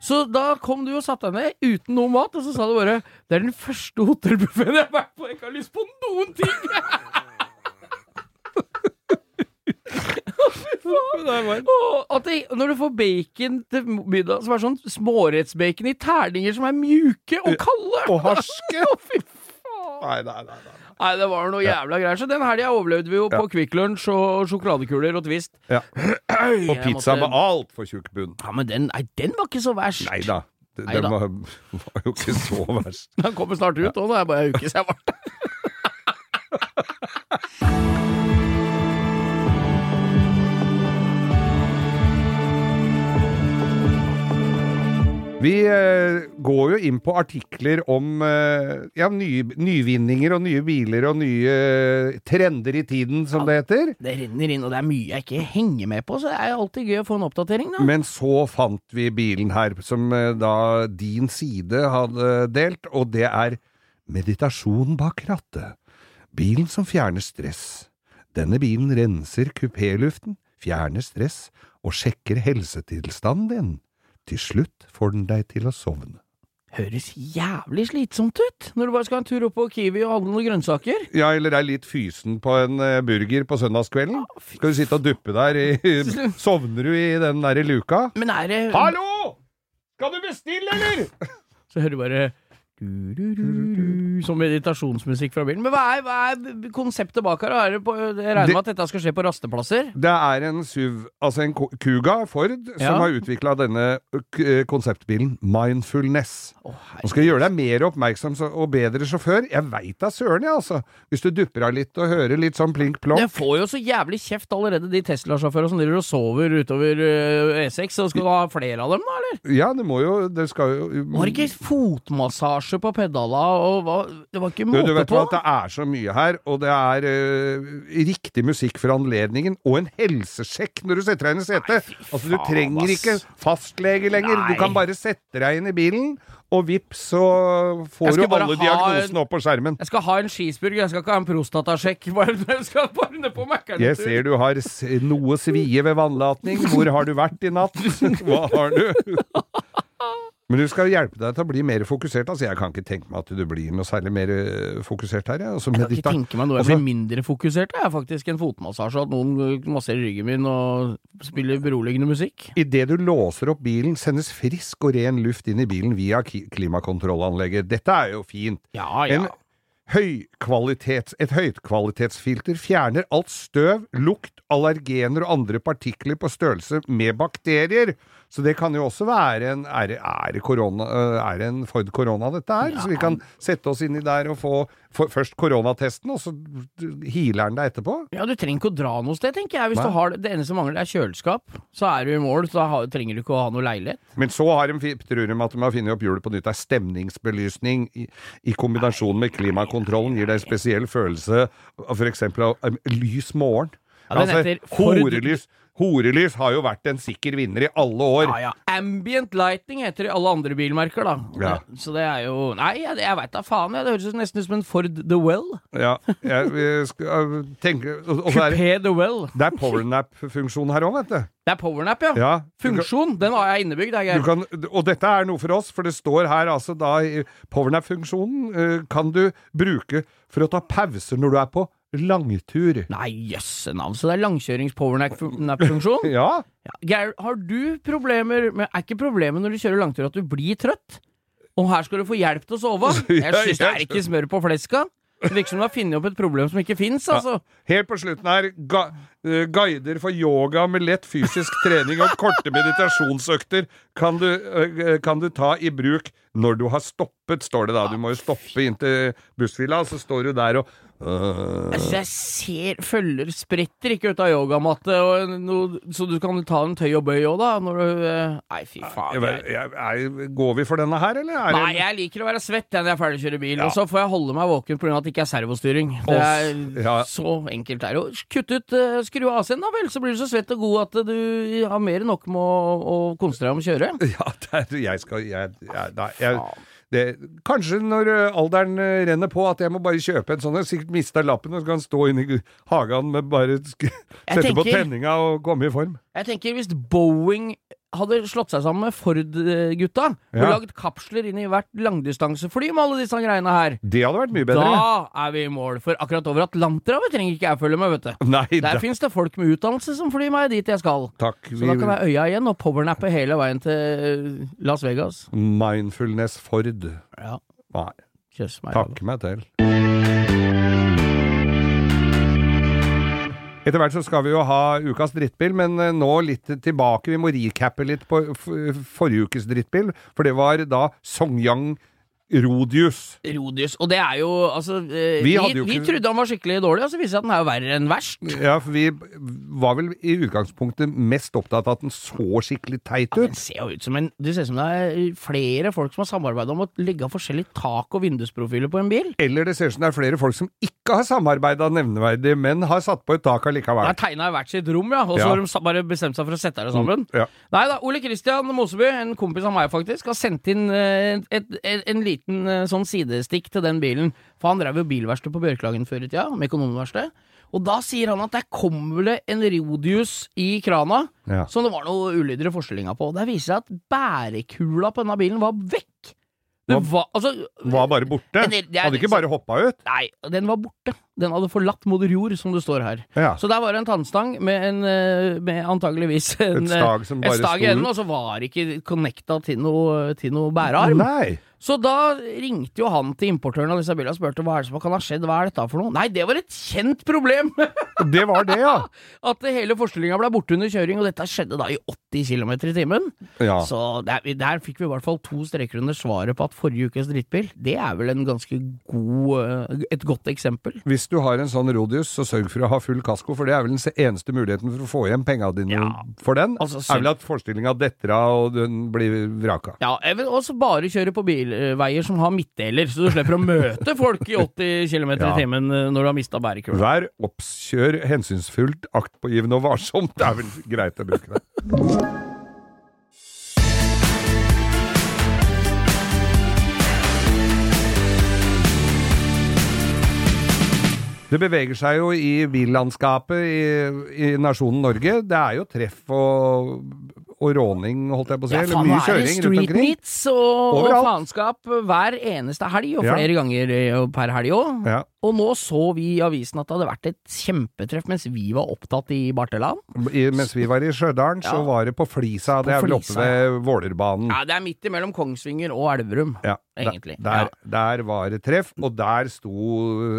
Speaker 3: Så da kom du og satte deg ned uten noe mat, og så sa du bare 'Det er den første hotellbuffeen jeg har vært på, jeg ikke har lyst på noen ting'. Åh, at det, når du får bacon til middag som er sånn smårettsbacon i terninger som er mjuke og kalde
Speaker 2: Og harske?
Speaker 3: Å, fy faen.
Speaker 2: Nei, nei, nei. nei.
Speaker 3: Nei, det var noe jævla greier. Så den helga overlevde vi jo på Kvikk Lunsj og sjokoladekuler og Twist.
Speaker 2: Ja. Og
Speaker 3: Jeg
Speaker 2: pizza
Speaker 3: måtte-
Speaker 2: med altfor tjukk bunn.
Speaker 3: Ja, men den, nei, den var ikke så verst.
Speaker 2: Nei da. Det,
Speaker 3: Nei
Speaker 2: det
Speaker 3: da.
Speaker 2: var, var jo ikke så verst.
Speaker 3: Den kommer snart ut, og det er bare en uke siden jeg var der.
Speaker 2: Vi eh, går jo inn på artikler om eh, ja, nye, nyvinninger og nye biler og nye eh, trender i tiden, som det heter.
Speaker 3: Det renner inn, og det er mye jeg ikke henger med på, så det er alltid gøy å få en oppdatering, da.
Speaker 2: Men så fant vi bilen her, som eh, da din side hadde delt, og det er meditasjon bak rattet. Bilen som fjerner stress. Denne bilen renser kupéluften, fjerner stress og sjekker helsetilstanden din. Til slutt får den deg til å sovne.
Speaker 3: Høres jævlig slitsomt ut når du bare skal ha en tur opp på Kiwi og handle noen grønnsaker.
Speaker 2: Ja, eller er litt fysen på en eh, burger på søndagskvelden? Skal du sitte og duppe der i Sovner du i den derre luka?
Speaker 3: Men er det
Speaker 2: Hallo! Skal du bestille, eller?
Speaker 3: Så hører du bare Du-du-du-du-du, Som meditasjonsmusikk fra bilen. Men hva er, hva er konseptet bak her? da? Er det på, jeg regner
Speaker 2: Det-
Speaker 3: med at dette skal skje på rasteplasser?
Speaker 2: Det er en SUV, altså en Ku- Kuga Ford,
Speaker 3: Ja.
Speaker 2: som har utvikla denne ø, k- ø, konseptbilen Mindfulness.
Speaker 3: Å,
Speaker 2: Nå skal jeg gjøre deg mer oppmerksom så- og bedre sjåfør. Jeg veit da søren, jeg, altså. Hvis du dupper av litt og hører litt sånn plink-plonk.
Speaker 3: Den får jo så jævlig kjeft allerede, de Tesla-sjåførene som driver og sover utover eh, E6. Så skal du ha flere av dem, da, eller?
Speaker 2: Ja, det må jo Det skal jo
Speaker 3: Var det ikke fotmassasje på pedala, og hva, det var ikke
Speaker 2: Du,
Speaker 3: måte
Speaker 2: du vet
Speaker 3: på?
Speaker 2: hva, det er så mye her, og det er eh, riktig musikk for anledningen, og en helsesjekk når du setter deg inn i setet. Altså, du
Speaker 3: faen,
Speaker 2: trenger
Speaker 3: ass.
Speaker 2: ikke fastlege lenger,
Speaker 3: Nei.
Speaker 2: du kan bare sette deg inn i bilen, og vips, så
Speaker 3: Jeg
Speaker 2: får du
Speaker 3: skal bare
Speaker 2: alle
Speaker 3: ha en-
Speaker 2: diagnosene opp på skjermen.
Speaker 3: Jeg skal ha en skisburger, jeg skal ikke ha en prostatasjekk. Bare, jeg skal bare ned på Mækkern.
Speaker 2: Jeg ser du har s- noe svie ved vannlatning. Hvor har du vært i natt? Hva har du? Men du skal hjelpe deg til å bli mer fokusert. Altså, jeg kan ikke tenke meg at du blir noe særlig mer eh, fokusert her. Jeg. Altså,
Speaker 3: Jeg kan ikke
Speaker 2: medita-
Speaker 3: tenke meg noe jeg
Speaker 2: Altså-
Speaker 3: blir mindre fokusert av, jeg, faktisk, enn fotmassasje. At noen eh, masserer ryggen min og spiller beroligende musikk.
Speaker 2: Idet du låser opp bilen, sendes frisk og ren luft inn i bilen via ki- klimakontrollanlegget. Dette er jo fint.
Speaker 3: Ja, ja.
Speaker 2: En høykvalitets, et høykvalitetsfilter fjerner alt støv, lukt, allergener og andre partikler på størrelse med bakterier. Så det kan jo også være en Er det, er det, korona, øh, er det en Ford korona, dette her? Så vi kan sette oss inni der og få få først koronatesten, og så healer den deg etterpå?
Speaker 3: Ja, du trenger ikke å dra noe sted, tenker jeg. Hvis
Speaker 2: Nei.
Speaker 3: du har det, det eneste som mangler, er kjøleskap, så er du i mål. Så da har- trenger du ikke å ha noe leilighet.
Speaker 2: Men så har de, fi- tror de at de har funnet opp hjulet på nytt. Det er stemningsbelysning i, i kombinasjon med klimakontrollen gir deg en spesiell følelse av f.eks. av um, lys morgen. Altså,
Speaker 3: Ja, den heter Ford-
Speaker 2: horelys, horelys har jo vært en sikker vinner i alle år.
Speaker 3: Ja, ja. Ambient lighting heter det i alle andre bilmerker, da.
Speaker 2: Ja.
Speaker 3: Så det er jo Nei, jeg, jeg veit da faen, jeg. Det høres nesten ut som en Ford The Well.
Speaker 2: Ja, jeg, jeg skal, jeg tenker, og, og så er det,
Speaker 3: Coupé The Well.
Speaker 2: det er powernap-funksjon her òg, vet du.
Speaker 3: Det er powernap, ja.
Speaker 2: Ja, du kan-
Speaker 3: Funksjon. Den har jeg innebygd, jeg,
Speaker 2: Du
Speaker 3: Geir.
Speaker 2: kan, og dette er noe for oss, for det står her altså da i powernap-funksjonen eh, kan du bruke for å ta pauser når du er på langtur.
Speaker 3: Nei, jøsse navn. Så det er langkjørings-powernap-funksjon?
Speaker 2: Ja,
Speaker 3: ja. Geir, har du problemer med Er ikke problemet når du kjører langtur at du blir trøtt? Og her skal du få hjelp til å sove? Jeg
Speaker 2: Ja,
Speaker 3: syns det er
Speaker 2: jeg-
Speaker 3: ikke smør på fleska. Det virker som du har funnet opp et problem som ikke fins, altså.
Speaker 2: Helt på slutten her, ga, eh, guider for yoga med lett fysisk trening og korte meditasjonsøkter kan du, eh, kan du ta i bruk når du har stoppet, står det da. Du må jo stoppe inntil bussfila, og så står du der og øh,
Speaker 3: Altså, jeg ser følger spretter ikke ut av yogamatte, og noe, så du kan ta en tøy og bøy òg, da, når du eh, Nei, fy faen.
Speaker 2: jeg,
Speaker 3: Geir.
Speaker 2: jeg, jeg, Går vi for denne her, eller? Er det-
Speaker 3: Nei, jeg liker å være svett når jeg er ferdig å kjøre bil,
Speaker 2: Ja.
Speaker 3: og så får jeg holde meg våken pga. at det ikke er servostyring. Det er
Speaker 2: Åh, ja.
Speaker 3: så enkelt det er. Og Kutt ut, eh, skru av AC-en, da vel, så blir du så svett og god at du har mer enn nok med å, å konsentrere deg om å kjøre.
Speaker 2: Ja, det er, jeg skal jeg, jeg, nei, jeg,
Speaker 3: faen.
Speaker 2: det, Kanskje når ø, alderen ø, renner på at jeg må bare kjøpe en sånn. Jeg har sikkert mista lappen og så kan jeg stå inne i gu- hagen med bare sk Sette på
Speaker 3: tenker-
Speaker 2: tenninga og komme i form.
Speaker 3: Jeg tenker hvis Boeing hadde slått seg sammen med Ford-gutta, og
Speaker 2: Ja.
Speaker 3: lagd kapsler inn i hvert langdistansefly med alle disse greiene her,
Speaker 2: Det hadde vært mye bedre.
Speaker 3: Da er vi i mål, for akkurat over Atlanterhavet trenger ikke jeg følge med, vet du.
Speaker 2: Nei,
Speaker 3: Der
Speaker 2: da,
Speaker 3: fins det folk med utdannelse som flyr meg dit jeg skal.
Speaker 2: takk.
Speaker 3: Så da
Speaker 2: Vi-
Speaker 3: kan jeg øya igjen og powernappe hele veien til eh, Las Vegas.
Speaker 2: Mindfulness Ford.
Speaker 3: Ja,
Speaker 2: Nei,
Speaker 3: kjøss meg.
Speaker 2: takk meg til. Etter hvert så skal vi jo ha ukas drittbil, men eh, nå litt tilbake. Vi må recappe litt på f forrige ukes drittbil, for det var da Songyang Rodius.
Speaker 3: Rodius. Og det er jo Altså, eh,
Speaker 2: Vi
Speaker 3: vi,
Speaker 2: hadde jo
Speaker 3: vi
Speaker 2: ikke-
Speaker 3: trodde han var skikkelig dårlig, og så viser det seg at han er jo verre enn verst.
Speaker 2: Ja, for vi var vel i utgangspunktet mest opptatt av at den så skikkelig teit
Speaker 3: Den
Speaker 2: ut.
Speaker 3: ser jo ut som en Det ser ut som det er flere folk som har samarbeida om å legge av forskjellige tak- og vindusprofiler på en bil.
Speaker 2: Eller det ser ut som det er flere folk som ikke har samarbeida nevneverdig, men har satt på et tak
Speaker 3: De
Speaker 2: allikevel.
Speaker 3: har tegna i hvert sitt rom, ja, og så
Speaker 2: Ja. Mm,
Speaker 3: har de sa- bare bestemt seg for å sette det sammen.
Speaker 2: Ja.
Speaker 3: Nei da, Ole Kristian Moseby, en kompis av meg faktisk, har sendt inn eh, et, et, en liten eh, sånn sidestikk til den bilen. For han drev jo bilverksted på Bjørklagen før i tida, med økonomverksted. Og da sier han at der kom vel det en Rodius i krana
Speaker 2: Ja.
Speaker 3: som det var noe ulyder i forstillinga på. Der viser det seg at bærekula på denne bilen var vekk! Det
Speaker 2: Hva-
Speaker 3: var, altså,
Speaker 2: Var bare borte.
Speaker 3: Men det- det er
Speaker 2: Hadde
Speaker 3: liksom-
Speaker 2: ikke bare hoppa ut.
Speaker 3: Nei, den var borte. Den hadde forlatt moder jord, som det står her.
Speaker 2: Ja.
Speaker 3: Så der var det en tannstang med en eh, med antageligvis en,
Speaker 2: Et
Speaker 3: eh,
Speaker 2: stag som bare
Speaker 3: et stag i enden,
Speaker 2: sto
Speaker 3: og så var ikke connecta til noe, til noe bærearm.
Speaker 2: Nei.
Speaker 3: Så da ringte jo han til importøren av disse bilene og spurte hva er det som kan ha skjedd, hva er dette for noe? Nei, det var et kjent problem!
Speaker 2: Det var det, ja.
Speaker 3: At hele forstillinga ble borte under kjøring, og dette skjedde da i 80 km i timen.
Speaker 2: ja.
Speaker 3: Så der, der fikk vi i hvert fall to streker under svaret på at forrige ukes drittbil, det er vel en ganske god eh, Et godt eksempel.
Speaker 2: Hvis du har en sånn Rodius, så sørg for å ha full kasko, for det er vel den eneste muligheten for å få igjen penga dine
Speaker 3: Ja.
Speaker 2: for den.
Speaker 3: Altså,
Speaker 2: er vel at forestillinga detter av, og den blir vraka.
Speaker 3: Ja, jeg vil også bare kjøre på bilveier som har midtdeler, så du slipper å møte folk i 80 km i
Speaker 2: Ja.
Speaker 3: timen eh, når du har mista bærekula.
Speaker 2: Vær obs, kjør hensynsfullt, aktpågivende og varsomt. Det er vel greit å bruke det. Det beveger seg jo i billandskapet i, i nasjonen Norge. Det er jo treff og, og råning, holdt jeg på å si. eller mye
Speaker 3: nå er det
Speaker 2: kjøring rundt
Speaker 3: street
Speaker 2: omkring.
Speaker 3: meets og, og
Speaker 2: Overalt.
Speaker 3: faenskap hver eneste helg, og
Speaker 2: Ja.
Speaker 3: flere ganger eh, per helg òg.
Speaker 2: Ja.
Speaker 3: Og nå så vi i avisen at det hadde vært et kjempetreff mens vi var opptatt i Barteland.
Speaker 2: I, mens vi var i Stjørdal, så
Speaker 3: Ja.
Speaker 2: var det på Flisa.
Speaker 3: På
Speaker 2: det er vel
Speaker 3: Flisa,
Speaker 2: oppe ved Vålerbanen.
Speaker 3: Ja, det er midt imellom Kongsvinger og Elverum.
Speaker 2: Mm. Ja,
Speaker 3: Egentlig,
Speaker 2: Der, der var det treff, og der sto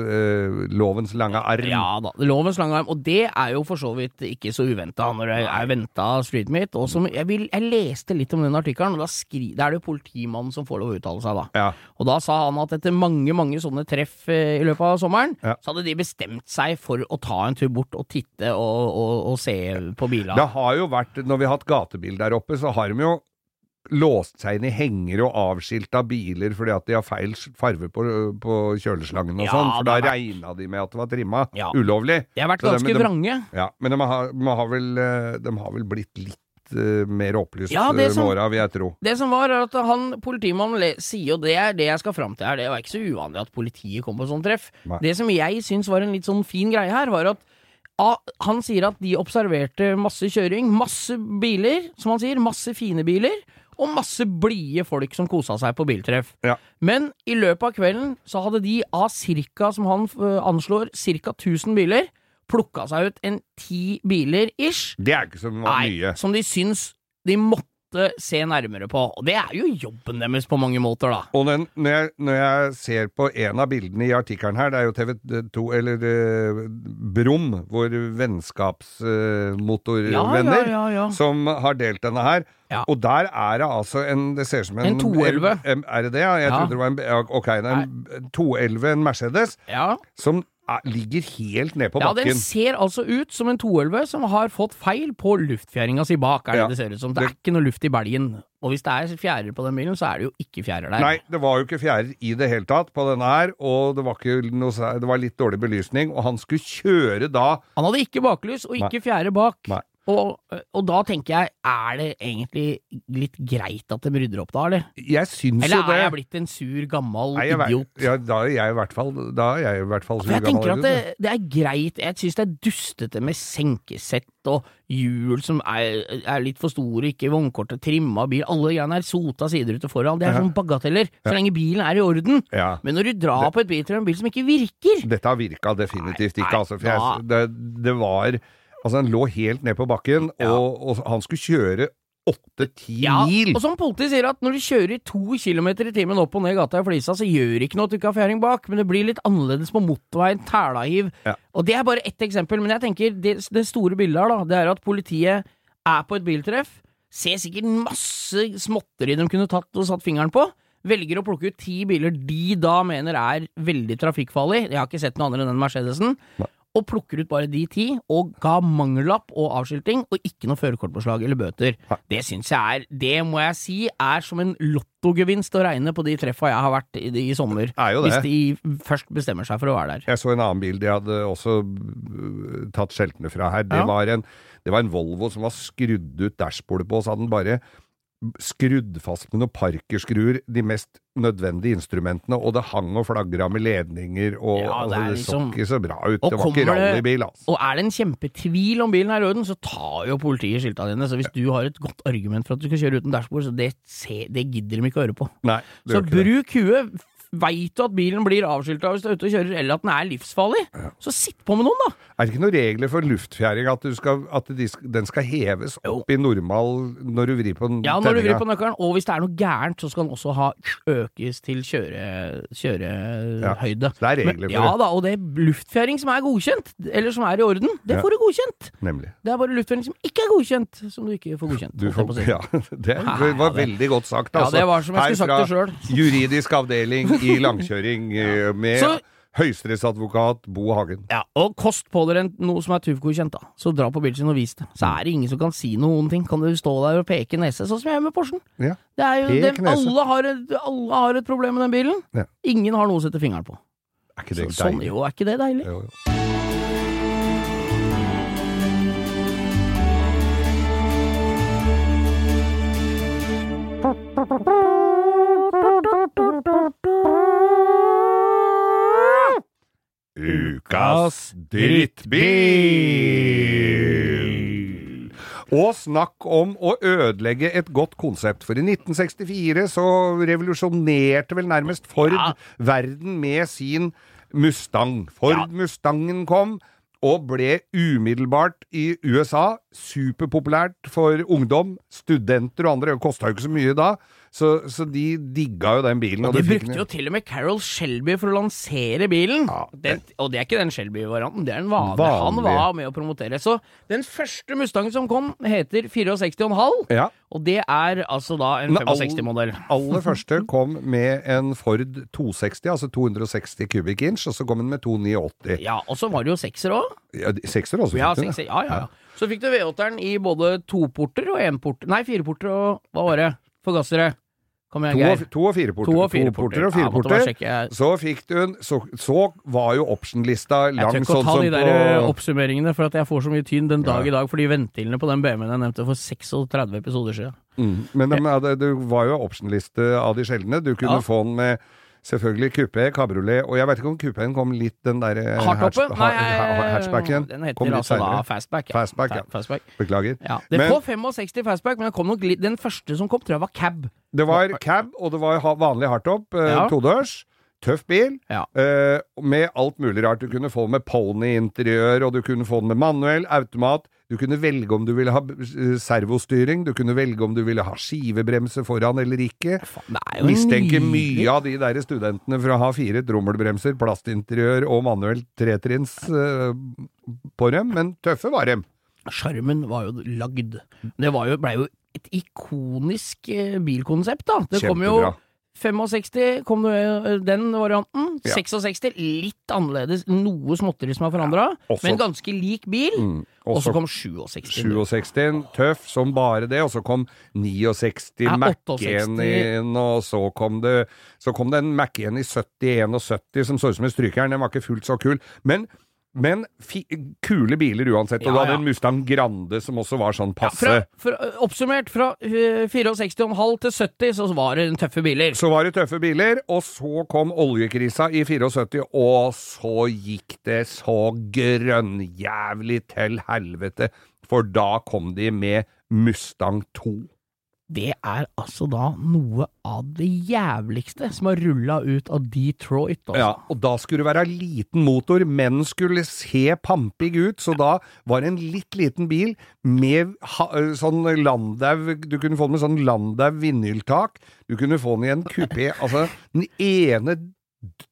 Speaker 2: eh, lovens lange arm.
Speaker 3: Ja da, lovens lange arm. Og det er jo for så vidt ikke så uventa når det er venta street meet. Og som jeg, vil, jeg leste litt om den artikkelen, og da, skri, da er det jo politimannen som får lov å uttale seg, da.
Speaker 2: Ja.
Speaker 3: Og da sa han at etter mange, mange sånne treff eh, i løpet av sommeren,
Speaker 2: Ja.
Speaker 3: så hadde de bestemt seg for å ta en tur bort og titte og, og, og se på
Speaker 2: Det
Speaker 3: bilene.
Speaker 2: har jo vært, når vi har hatt gatebil der oppe, så har de jo låst seg inn i hengere og avskilt av biler fordi at de har feil farve på, på kjøleslangen og
Speaker 3: Ja,
Speaker 2: sånn, for da
Speaker 3: det har
Speaker 2: regna de med at det var trimma.
Speaker 3: Ja.
Speaker 2: Ulovlig.
Speaker 3: De har vært
Speaker 2: Så det-
Speaker 3: ganske
Speaker 2: men de-
Speaker 3: vrange.
Speaker 2: Ja, men de har, de har, vel, eh, de har vel blitt litt eh, mer opplyst
Speaker 3: Ja, det
Speaker 2: eh,
Speaker 3: som-
Speaker 2: med åra, vil jeg tro.
Speaker 3: Det som var, er at han politimannen le- sier, og det er det jeg skal fram til her, det var ikke så uvanlig at politiet kom på sånn treff.
Speaker 2: Nei.
Speaker 3: Det som jeg syns var en litt sånn fin greie her, var at ah, han sier at de observerte masse kjøring, masse biler, som han sier, masse fine biler, og masse blide folk som kosa seg på biltreff.
Speaker 2: Ja.
Speaker 3: Men i løpet av kvelden så hadde de av cirka, som han eh, anslår, cirka 1000 biler, plukka seg ut en ti biler ish.
Speaker 2: Det er ikke så mye.
Speaker 3: Som de syns de måtte se nærmere på. Og det er jo jobben deres på mange måter, da.
Speaker 2: Og den, når, jeg, når jeg ser på en av bildene i artikkelen her, det er jo TV2, eller eh, Brum, vår vennskapsmotorvenner,
Speaker 3: ja, ja.
Speaker 2: som har delt denne her.
Speaker 3: Ja.
Speaker 2: Og der er det altså en Det ser ut som en
Speaker 3: En 211.
Speaker 2: en- Er det det? Ja, jeg
Speaker 3: Ja.
Speaker 2: trodde det var en ja, Ok, det er en 211, en Mercedes,
Speaker 3: Ja,
Speaker 2: som er, ligger helt ned på
Speaker 3: ja
Speaker 2: bakken.
Speaker 3: Den ser altså ut som en 211 som har fått feil på luftfjæringa si bak. er det
Speaker 2: Ja.
Speaker 3: det ser ut som. Det er
Speaker 2: Det-
Speaker 3: ikke noe luft i belgen. Og hvis det er fjærer på den bilen, så er det jo ikke fjærer der.
Speaker 2: Nei, det var jo ikke fjærer i det hele tatt på denne her, og det var, ikke noe, sær- det var litt dårlig belysning, og han skulle kjøre da
Speaker 3: Han hadde ikke baklys, og ikke fjære bak.
Speaker 2: Nei.
Speaker 3: Og, og da tenker jeg, er det egentlig litt greit at de rydder opp da, eller?
Speaker 2: Jeg syns jo
Speaker 3: Eller
Speaker 2: det
Speaker 3: er jeg blitt en sur, gammel
Speaker 2: Nei, jeg, vet-
Speaker 3: idiot?
Speaker 2: Ja, da er jeg i hvert fall Da er jeg i hvert fall
Speaker 3: For jeg
Speaker 2: surgammel
Speaker 3: tenker at det,
Speaker 2: idiot,
Speaker 3: det er greit, jeg synes det er dustete med senkesett og hjul som er, er litt for store, ikke vognkortet, trimma bil, alle de greiene her, sota siderute foran, det er
Speaker 2: Ja.
Speaker 3: sånn bagateller, så lenge bilen er i orden.
Speaker 2: ja.
Speaker 3: Men når du drar på et bil til en bil som ikke virker,
Speaker 2: Dette har virka definitivt
Speaker 3: Nei,
Speaker 2: ikke,
Speaker 3: nei,
Speaker 2: altså. For jeg, det, det var Altså, han lå helt ned på bakken,
Speaker 3: Ja.
Speaker 2: og, og han skulle kjøre åtte-ti
Speaker 3: ja,
Speaker 2: mil!
Speaker 3: og som politiet sier at når du kjører i to kilometer i timen opp og ned gata i Flisa, så gjør det ikke noe at du ikke har fjæring bak, men det blir litt annerledes på motorveien, tælahiv,
Speaker 2: Ja.
Speaker 3: og det er bare ett eksempel, men jeg tenker det, det store bildet her da, det er at politiet er på et biltreff, ser sikkert masse småtteri de kunne tatt og satt fingeren på, velger å plukke ut ti biler de da mener er veldig trafikkfarlig, jeg har ikke sett noe annet enn den Mercedesen,
Speaker 2: Nei.
Speaker 3: og plukker ut bare de ti, og ga mangellapp og avskilting, og ikke noe førerkortpåslag eller bøter.
Speaker 2: Nei.
Speaker 3: Det synes jeg er, det må jeg si, er som en lottogevinst å regne på de treffa jeg har vært i, i sommer,
Speaker 2: Er jo det.
Speaker 3: hvis de først bestemmer seg for å være der.
Speaker 2: Jeg så en annen bil de hadde også øh, tatt skjeltene fra her. Det,
Speaker 3: Ja.
Speaker 2: var en, det var en Volvo som var skrudd ut dashbordet på, og så hadde den bare skrudd fast med noen parkerskruer de mest nødvendige instrumentene, og det hang og flagra med ledninger, og
Speaker 3: Ja,
Speaker 2: altså,
Speaker 3: det er
Speaker 2: det så
Speaker 3: liksom-
Speaker 2: ikke så bra ut.
Speaker 3: Og
Speaker 2: Det var ikke
Speaker 3: kommer det-
Speaker 2: rallybil, altså.
Speaker 3: Og er det en kjempetvil om bilen er i orden, så tar jo politiet skilta dine. Så hvis du har et godt argument for at du skal kjøre uten dashbord, så det, se, det gidder de ikke å høre på.
Speaker 2: Nei, det
Speaker 3: Så
Speaker 2: gjør ikke det.
Speaker 3: bruk huet, f- veit du at bilen blir avskilta hvis du er ute og kjører, eller at den er livsfarlig, så sitt på med noen, da!
Speaker 2: Er det ikke noen regler for luftfjæring? At, du skal, at de, sk- den skal heves opp i normal når du vrir på den
Speaker 3: Ja, når du
Speaker 2: tenninga?
Speaker 3: vrir på nøkkelen, og hvis det er noe gærent, så skal den også ha økes til kjøre,
Speaker 2: Ja,
Speaker 3: kjørehøyde.
Speaker 2: så det er regler for
Speaker 3: ja
Speaker 2: det.
Speaker 3: da, og det er luftfjæring som er godkjent, eller som er i orden, det
Speaker 2: Ja.
Speaker 3: får du godkjent!
Speaker 2: Nemlig.
Speaker 3: Det er bare luftfjæring som ikke er godkjent, som du ikke får godkjent.
Speaker 2: Du
Speaker 3: holdt jeg
Speaker 2: får,
Speaker 3: på å si.
Speaker 2: ja, det
Speaker 3: Ja,
Speaker 2: var
Speaker 3: det-
Speaker 2: veldig godt sagt,
Speaker 3: Ja,
Speaker 2: altså.
Speaker 3: det var som jeg
Speaker 2: Her
Speaker 3: skulle sagt det
Speaker 2: fra
Speaker 3: selv.
Speaker 2: Juridisk avdeling i langkjøring eh, med
Speaker 3: Så-
Speaker 2: høyesterettsadvokat Bo Hagen.
Speaker 3: Ja, og kost på dere en- noe som er TUV-godkjent, da. Så dra på bilen sin og vis det. Så er det ingen som kan si noen ting. Kan du stå der og peke nese, sånn som jeg gjør med Porschen?
Speaker 2: Ja.
Speaker 3: Det er jo,
Speaker 2: Pek
Speaker 3: det,
Speaker 2: nese.
Speaker 3: alle, har et, alle har et problem med den bilen.
Speaker 2: Ja.
Speaker 3: Ingen har noe å sette fingeren på.
Speaker 2: Er ikke
Speaker 3: Så,
Speaker 2: det
Speaker 3: sånn,
Speaker 2: deilig?
Speaker 3: jo, er ikke det deilig?
Speaker 2: Jo, jo. Ukas drittbil! Og snakk om å ødelegge et godt konsept. For i 1964 så revolusjonerte vel nærmest Ford
Speaker 3: Ja.
Speaker 2: verden med sin Mustang. Ford Mustangen kom. Og ble umiddelbart i USA superpopulært for ungdom, studenter og andre. Det kosta jo ikke så mye da, så, så de digga jo den bilen.
Speaker 3: De
Speaker 2: det fikk den
Speaker 3: brukte jo til og med Carol Shelby for å lansere bilen. den, og det er ikke den Shelby-varianten, det er den vanlige. Han
Speaker 2: Vanlig.
Speaker 3: var med å promotere. Så den første Mustangen som kom, heter 64,5.
Speaker 2: Ja.
Speaker 3: Og det er altså da en
Speaker 2: Den all-
Speaker 3: 65-modell.
Speaker 2: aller første kom med en Ford 260, altså 260 kubikk inch, og så kom den med 289.
Speaker 3: Ja, og så var det jo sekser òg.
Speaker 2: Ja, de- sekser også,
Speaker 3: Ja,
Speaker 2: fikk den,
Speaker 3: sekser, ja, ja, ja. Så fikk du V8-eren i både toporter og enporter Nei, fireporter og Hva var det? Forgassere. Kom igjen,
Speaker 2: To og,
Speaker 3: Geir.
Speaker 2: to og fire porter.
Speaker 3: To og fire
Speaker 2: To porter
Speaker 3: porter.
Speaker 2: og
Speaker 3: Ja,
Speaker 2: fire
Speaker 3: måtte bare
Speaker 2: porter.
Speaker 3: sjekke, jeg-
Speaker 2: så fikk du en Så, så var jo option-lista
Speaker 3: Jeg
Speaker 2: lang
Speaker 3: tør ikke å
Speaker 2: sånn
Speaker 3: ta
Speaker 2: som
Speaker 3: de der eh,
Speaker 2: på
Speaker 3: oppsummeringene, for at jeg får så mye tyn den dag i dag for de ventilene på den BMW-en jeg nevnte for 36 episoder siden.
Speaker 2: Mm, Men de, hadde- det var jo option-liste av de sjeldne. Du kunne
Speaker 3: Ja.
Speaker 2: få den med Selvfølgelig kupé, kabriolet, og jeg veit ikke om kupéen kom litt den der eh,
Speaker 3: Hardt oppe?
Speaker 2: hatch- ha-
Speaker 3: Nei, eh,
Speaker 2: ha- hatchbacken.
Speaker 3: den
Speaker 2: Kom
Speaker 3: heter
Speaker 2: litt
Speaker 3: altså da
Speaker 2: senere.
Speaker 3: Fastback.
Speaker 2: Fastback, ja.
Speaker 3: Fa- Fastback.
Speaker 2: Beklager.
Speaker 3: Ja. Det
Speaker 2: Men-
Speaker 3: får 65 Fastback, men det kom nok litt, den første som kom, tror jeg var cab.
Speaker 2: Det var cab, og det var ha- vanlig hardtop, eh,
Speaker 3: Ja.
Speaker 2: todørs. Tøff bil,
Speaker 3: Ja.
Speaker 2: eh, med alt mulig rart. Du kunne få den med ponyinteriør, og du kunne få den med manuell, automat. Du kunne velge om du ville ha eh, servostyring, du kunne velge om du ville ha skivebremse foran eller ikke.
Speaker 3: Faen, det er jo
Speaker 2: Mistenker
Speaker 3: nydelig.
Speaker 2: mye av de der studentene for å ha fire trommelbremser, plastinteriør og manuell tretrinns eh, på dem, men tøffe var dem.
Speaker 3: Sjarmen var jo lagd. Det var jo, ble jo et ikonisk eh, bilkonsept, da. Det kom jo
Speaker 2: Kjempebra.
Speaker 3: 65, kom det, eh, den varianten.
Speaker 2: Ja.
Speaker 3: 66, litt annerledes. Noe småtteri som er forandra,
Speaker 2: også- Mm,
Speaker 3: men ganske lik bil. Og
Speaker 2: også-
Speaker 3: så kom 67.
Speaker 2: 67, tøff som bare det, og så kom 69
Speaker 3: Ja,
Speaker 2: Mac-en
Speaker 3: 68.
Speaker 2: inn, og så kom det Så kom det en Mac-en i 70-71 som så ut som en strykejern, den var ikke fullt så kul. Men, men fi, kule biler uansett, og
Speaker 3: Ja,
Speaker 2: du hadde
Speaker 3: ja.
Speaker 2: en Mustang Grande som også var sånn passe.
Speaker 3: Fra, fra, oppsummert, fra eh, 64,5 til 70 så var det tøffe biler.
Speaker 2: så var det tøffe biler, og så kom oljekrisa i 74, og så gikk det så grønnjævlig til helvete, for da kom de med Mustang 2.
Speaker 3: Det er altså da noe av det jævligste som har rulla ut av Detroit. Altså.
Speaker 2: Ja, og da skulle det være liten motor, men skulle se pampig ut, så da var det en litt liten bil med ha, øh, sånn landau Du kunne få den med sånn landau vinyltak, du kunne få den i en kupé Altså, den ene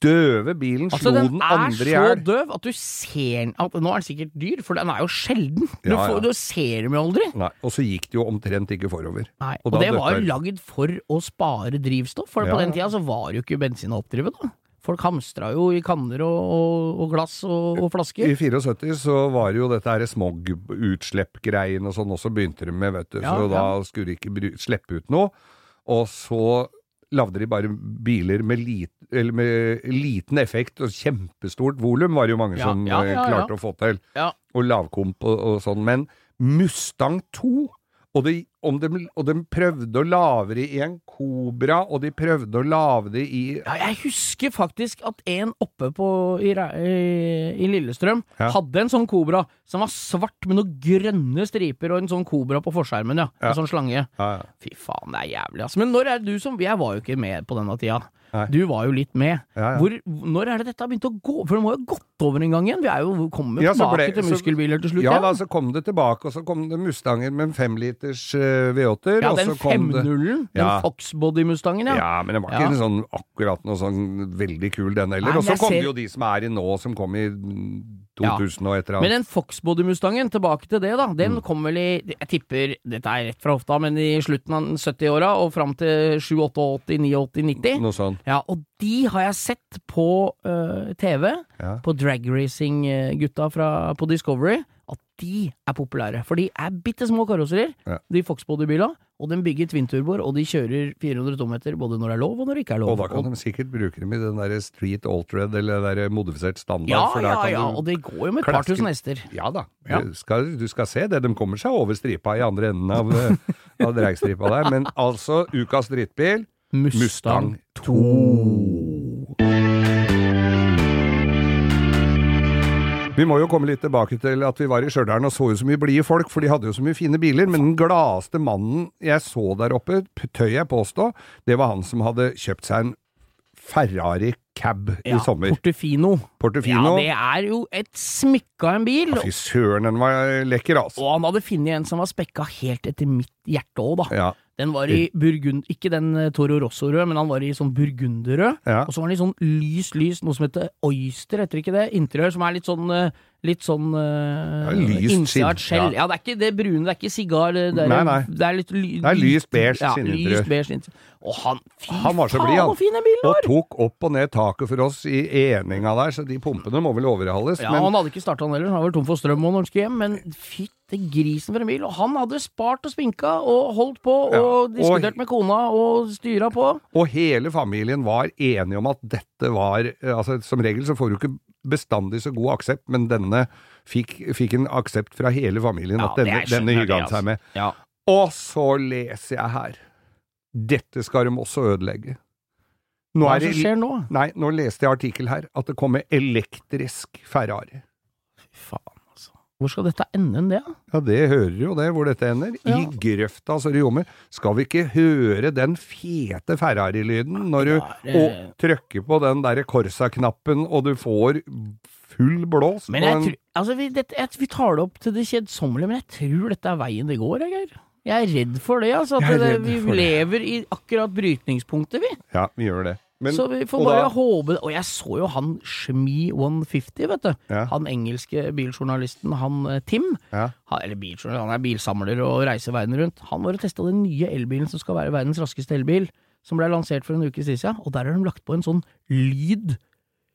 Speaker 2: døve bilen
Speaker 3: Altså,
Speaker 2: slo
Speaker 3: den,
Speaker 2: den,
Speaker 3: er
Speaker 2: andre i
Speaker 3: så
Speaker 2: hjel.
Speaker 3: døv at du ser den at, Nå er den sikkert dyr, for den er jo sjelden. Du,
Speaker 2: Ja, ja.
Speaker 3: får, du ser dem jo aldri.
Speaker 2: Nei, og så gikk det jo omtrent ikke forover.
Speaker 3: Nei,
Speaker 2: Og
Speaker 3: og,
Speaker 2: da
Speaker 3: det var
Speaker 2: døtter-
Speaker 3: jo lagd for å spare drivstoff, for
Speaker 2: Ja,
Speaker 3: på den
Speaker 2: ja.
Speaker 3: tida så var jo ikke bensin å oppdrive, da. Folk hamstra jo i kanner og, og, og glass og, og flasker.
Speaker 2: I 74 så var det jo dette her smogutslipp-greien og sånn, og så begynte de med, vet du,
Speaker 3: Ja,
Speaker 2: så
Speaker 3: ja.
Speaker 2: da skulle de ikke bru- slippe ut noe. Og så lagde de bare biler med, lit, eller med liten effekt og kjempestort volum, var det jo mange
Speaker 3: Ja,
Speaker 2: som
Speaker 3: ja,
Speaker 2: eh,
Speaker 3: ja, ja.
Speaker 2: klarte å få til.
Speaker 3: Ja.
Speaker 2: Og lavkomp og, og sånn. Men Mustang 2 og de, om de, og de prøvde å lave det i en Cobra, og de prøvde å lave det i
Speaker 3: Ja, jeg husker faktisk at en oppe på, i, Re- i, i Lillestrøm
Speaker 2: Ja.
Speaker 3: hadde en sånn kobra som var svart med noen grønne striper og en sånn kobra på forskjermen, ja. En sånn slange.
Speaker 2: Ja, ja.
Speaker 3: altså. Fy faen, det er jævlig, ass. Men når er det du som Jeg var jo ikke med på denne tida.
Speaker 2: Nei.
Speaker 3: Du var jo litt med.
Speaker 2: Ja, ja.
Speaker 3: Hvor, når er det dette har begynt å gå? For det må jo ha gått over en gang igjen? Vi er jo kommet
Speaker 2: Ja, så
Speaker 3: tilbake
Speaker 2: ble-
Speaker 3: til
Speaker 2: så-
Speaker 3: muskelbiler til slutt.
Speaker 2: Ja da, så kom det tilbake, og så kom det Mustanger med en femliters uh, V8-er.
Speaker 3: ja
Speaker 2: og
Speaker 3: den
Speaker 2: så kom det-
Speaker 3: 5-0-en. Den
Speaker 2: Ja.
Speaker 3: Foxbody-mustangen, ja.
Speaker 2: Ja, men den var ikke
Speaker 3: Ja.
Speaker 2: en sånn, akkurat noe sånn veldig kul, den
Speaker 3: Nei,
Speaker 2: heller.
Speaker 3: men
Speaker 2: Og så
Speaker 3: jeg
Speaker 2: kom
Speaker 3: ser-
Speaker 2: det jo de som er i nå, som kom i mm, 2000 og et eller
Speaker 3: Men
Speaker 2: annet.
Speaker 3: den Foxbody-mustangen, tilbake til det, da. Den
Speaker 2: Mm.
Speaker 3: kom vel i Jeg tipper, dette er rett fra hofta, men i slutten av 70-åra og fram til 87-88-89-90.
Speaker 2: Noe sånn.
Speaker 3: Ja, og de har jeg sett på øh, TV,
Speaker 2: Ja.
Speaker 3: på dragracing-gutta fra- på Discovery, at de er populære. For de er bitte små karosserier,
Speaker 2: Ja.
Speaker 3: de Foxbody-bila, og de bygger twinturboer, og de kjører 400 tommeter både når det er lov og når det ikke er lov.
Speaker 2: Og da kan de sikkert bruke dem i den der Street Altered eller den der modifisert standard.
Speaker 3: ja,
Speaker 2: for der
Speaker 3: ja,
Speaker 2: kan
Speaker 3: ja,
Speaker 2: du-
Speaker 3: og det går jo med et par
Speaker 2: klaske-
Speaker 3: tusen hester.
Speaker 2: Ja da.
Speaker 3: Ja.
Speaker 2: Du, skal, du skal se det. De kommer seg over stripa i andre enden av, eh, av dragstripa der. Men altså, ukas drittbil Mustang 2. Vi må jo komme litt tilbake til at vi var i Stjørdal og så jo så mye blide folk, for de hadde jo så mye fine biler. Men den gladeste mannen jeg så der oppe, p- tør jeg påstå, det var han som hadde kjøpt seg en Ferrari cab i
Speaker 3: Ja,
Speaker 2: sommer.
Speaker 3: Portefino.
Speaker 2: Portofino.
Speaker 3: Ja, det er jo et smykke av en bil,
Speaker 2: Fy søren, den var lekker, altså.
Speaker 3: og han hadde funnet en som var spekka helt etter mitt hjerte òg, da.
Speaker 2: Ja.
Speaker 3: Den var i burgund... Ikke den eh, Toro Rosso-rød, men han var i sånn burgunderrød.
Speaker 2: Ja.
Speaker 3: Og så var den litt sånn lys, lys, noe som heter oyster, heter ikke det? Interiør, som er litt sånn eh, Litt sånn uh,
Speaker 2: Ja, lyst skinn,
Speaker 3: skjell.
Speaker 2: ja.
Speaker 3: Ja. det er ikke det brune, det er ikke sigar. Det er,
Speaker 2: Nei, nei.
Speaker 3: Det er litt ly,
Speaker 2: Det er lyst beige
Speaker 3: ja,
Speaker 2: skinninteriør.
Speaker 3: lyst beige skinninteriør. Og han Fy
Speaker 2: Han var så blid,
Speaker 3: faen,
Speaker 2: han.
Speaker 3: så fin den bilen
Speaker 2: Og
Speaker 3: var!
Speaker 2: tok opp og ned taket for oss i eninga der, så de pumpene må vel overhales.
Speaker 3: Ja,
Speaker 2: men
Speaker 3: Han hadde ikke starta han heller, han var vel tom for strøm og når han skulle hjem, men fytte grisen for en bil. Og han hadde spart og spinka og holdt på og
Speaker 2: Ja, og-
Speaker 3: diskutert med kona og styra på.
Speaker 2: Og hele familien var enige om at dette var eh, altså Som regel så får du ikke bestandig så god aksept, men denne fikk, fikk en aksept fra hele familien at
Speaker 3: det
Speaker 2: denne,
Speaker 3: skjønner
Speaker 2: denne
Speaker 3: jeg
Speaker 2: hygga
Speaker 3: det,
Speaker 2: han seg med.
Speaker 3: altså. Ja.
Speaker 2: Og så leser jeg her Dette skal de også ødelegge. Nå
Speaker 3: Hva er
Speaker 2: er
Speaker 3: det som
Speaker 2: det
Speaker 3: skjer nå?
Speaker 2: Nei, nå leste jeg artikkel her at det kommer elektrisk Ferrari.
Speaker 3: Fy faen, altså. Hvor skal dette ende enn det? da?
Speaker 2: Ja, det hører jo det, hvor dette ender. I
Speaker 3: Ja.
Speaker 2: grøfta så det ljomer. Skal vi ikke høre den fete Ferrari-lyden når du
Speaker 3: det er-
Speaker 2: og trykker på den derre Corsa-knappen, og du får full blås
Speaker 3: Men
Speaker 2: på
Speaker 3: jeg
Speaker 2: en
Speaker 3: tror, altså, vi, dette, jeg, vi tar det opp til det kjedsommelige, men jeg tror dette er veien det går, jeg, Geir. Jeg er redd for det, altså.
Speaker 2: Jeg er
Speaker 3: At det,
Speaker 2: redd
Speaker 3: vi
Speaker 2: for det.
Speaker 3: lever i akkurat brytningspunktet, vi.
Speaker 2: Ja, vi gjør det. Men,
Speaker 3: så vi får
Speaker 2: og
Speaker 3: bare
Speaker 2: da-
Speaker 3: håpe Og jeg så jo han Shmi 150, vet du.
Speaker 2: Ja.
Speaker 3: Han engelske biljournalisten, han eh, Tim.
Speaker 2: Ja.
Speaker 3: Han, eller biljournalist, han er bilsamler og reiser verden rundt. Han var og testa den nye elbilen som skal være verdens raskeste elbil. Som ble lansert for en uke siden, ja. og der har de lagt på en sånn lyd.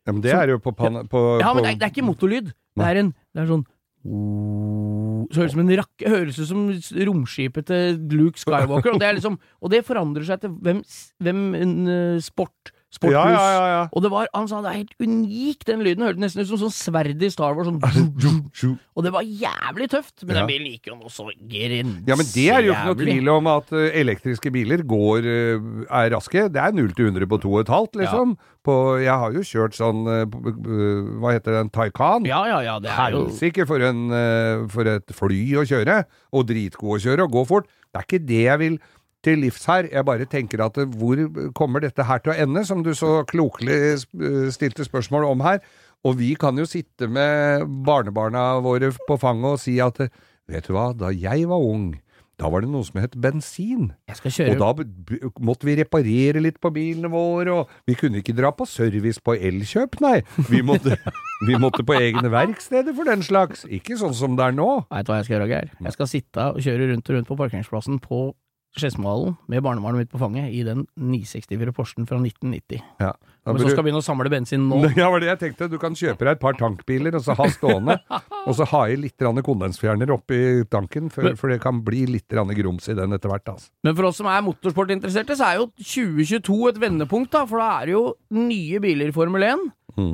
Speaker 2: ja, men det er jo på, pan, på,
Speaker 3: Ja, men
Speaker 2: på
Speaker 3: det er, det er ikke motorlyd. Det er en det er sånn så høres det ut som en rakke, høres ut som romskipet til Luke Skywalker. Og det, er liksom, og det forandrer seg til hvem, hvem en, eh, sport, sporthus.
Speaker 2: ja, ja, ja, ja.
Speaker 3: Og det var, han sa det er helt unik, den lyden. Hørtes nesten ut som sånn sverd i Star Wars. Sånn, og det var jævlig tøft, men
Speaker 2: Ja.
Speaker 3: den bilen gikk jo noe så grensejævlig.
Speaker 2: Ja, men det er jo ikke noe tvil om at eh, elektriske biler går, eh, er raske. Det er 0 til 100 på 2,5, liksom. På, jeg har jo kjørt sånn, eh, på- eh, hva heter den, Taycan.
Speaker 3: Ja, ja, ja, det er jo
Speaker 2: Helsike for, en, eh, for et fly å kjøre, og dritgod å kjøre, og gå fort. Det er ikke det jeg vil til livs her. Jeg bare tenker at eh, hvor kommer dette her til å ende, som du så klokelig eh, stilte spørsmål om her. Og vi kan jo sitte med barnebarna våre på fanget og si at eh, vet du hva, da jeg var ung, da var det noe som het bensin.
Speaker 3: Jeg skal
Speaker 2: Og
Speaker 3: kjøre
Speaker 2: da b- b- måtte vi reparere litt på bilene våre, og vi kunne ikke dra på service på Elkjøp, nei. Vi måtte, vi måtte på egne verksteder for den slags. Ikke sånn som det er nå.
Speaker 3: Veit du hva jeg skal gjøre, Geir? Jeg skal sitte og kjøre rundt og rundt på parkeringsplassen på Skedsmohallen med barnebarnet mitt på fanget i den 964 Porschen fra 1990.
Speaker 2: Ja. Da
Speaker 3: Men så
Speaker 2: burde-
Speaker 3: skal vi begynne å samle bensin nå.
Speaker 2: Ja, var det jeg tenkte. Du kan kjøpe deg et par tankbiler, og så ha stående, og så ha i litt grann kondensfjerner oppi tanken, for, for det kan bli litt grann grums i den etter hvert, altså.
Speaker 3: Men for oss som er motorsportinteresserte, så er jo 2022 et vendepunkt, da. For da er det jo nye biler i Formel 1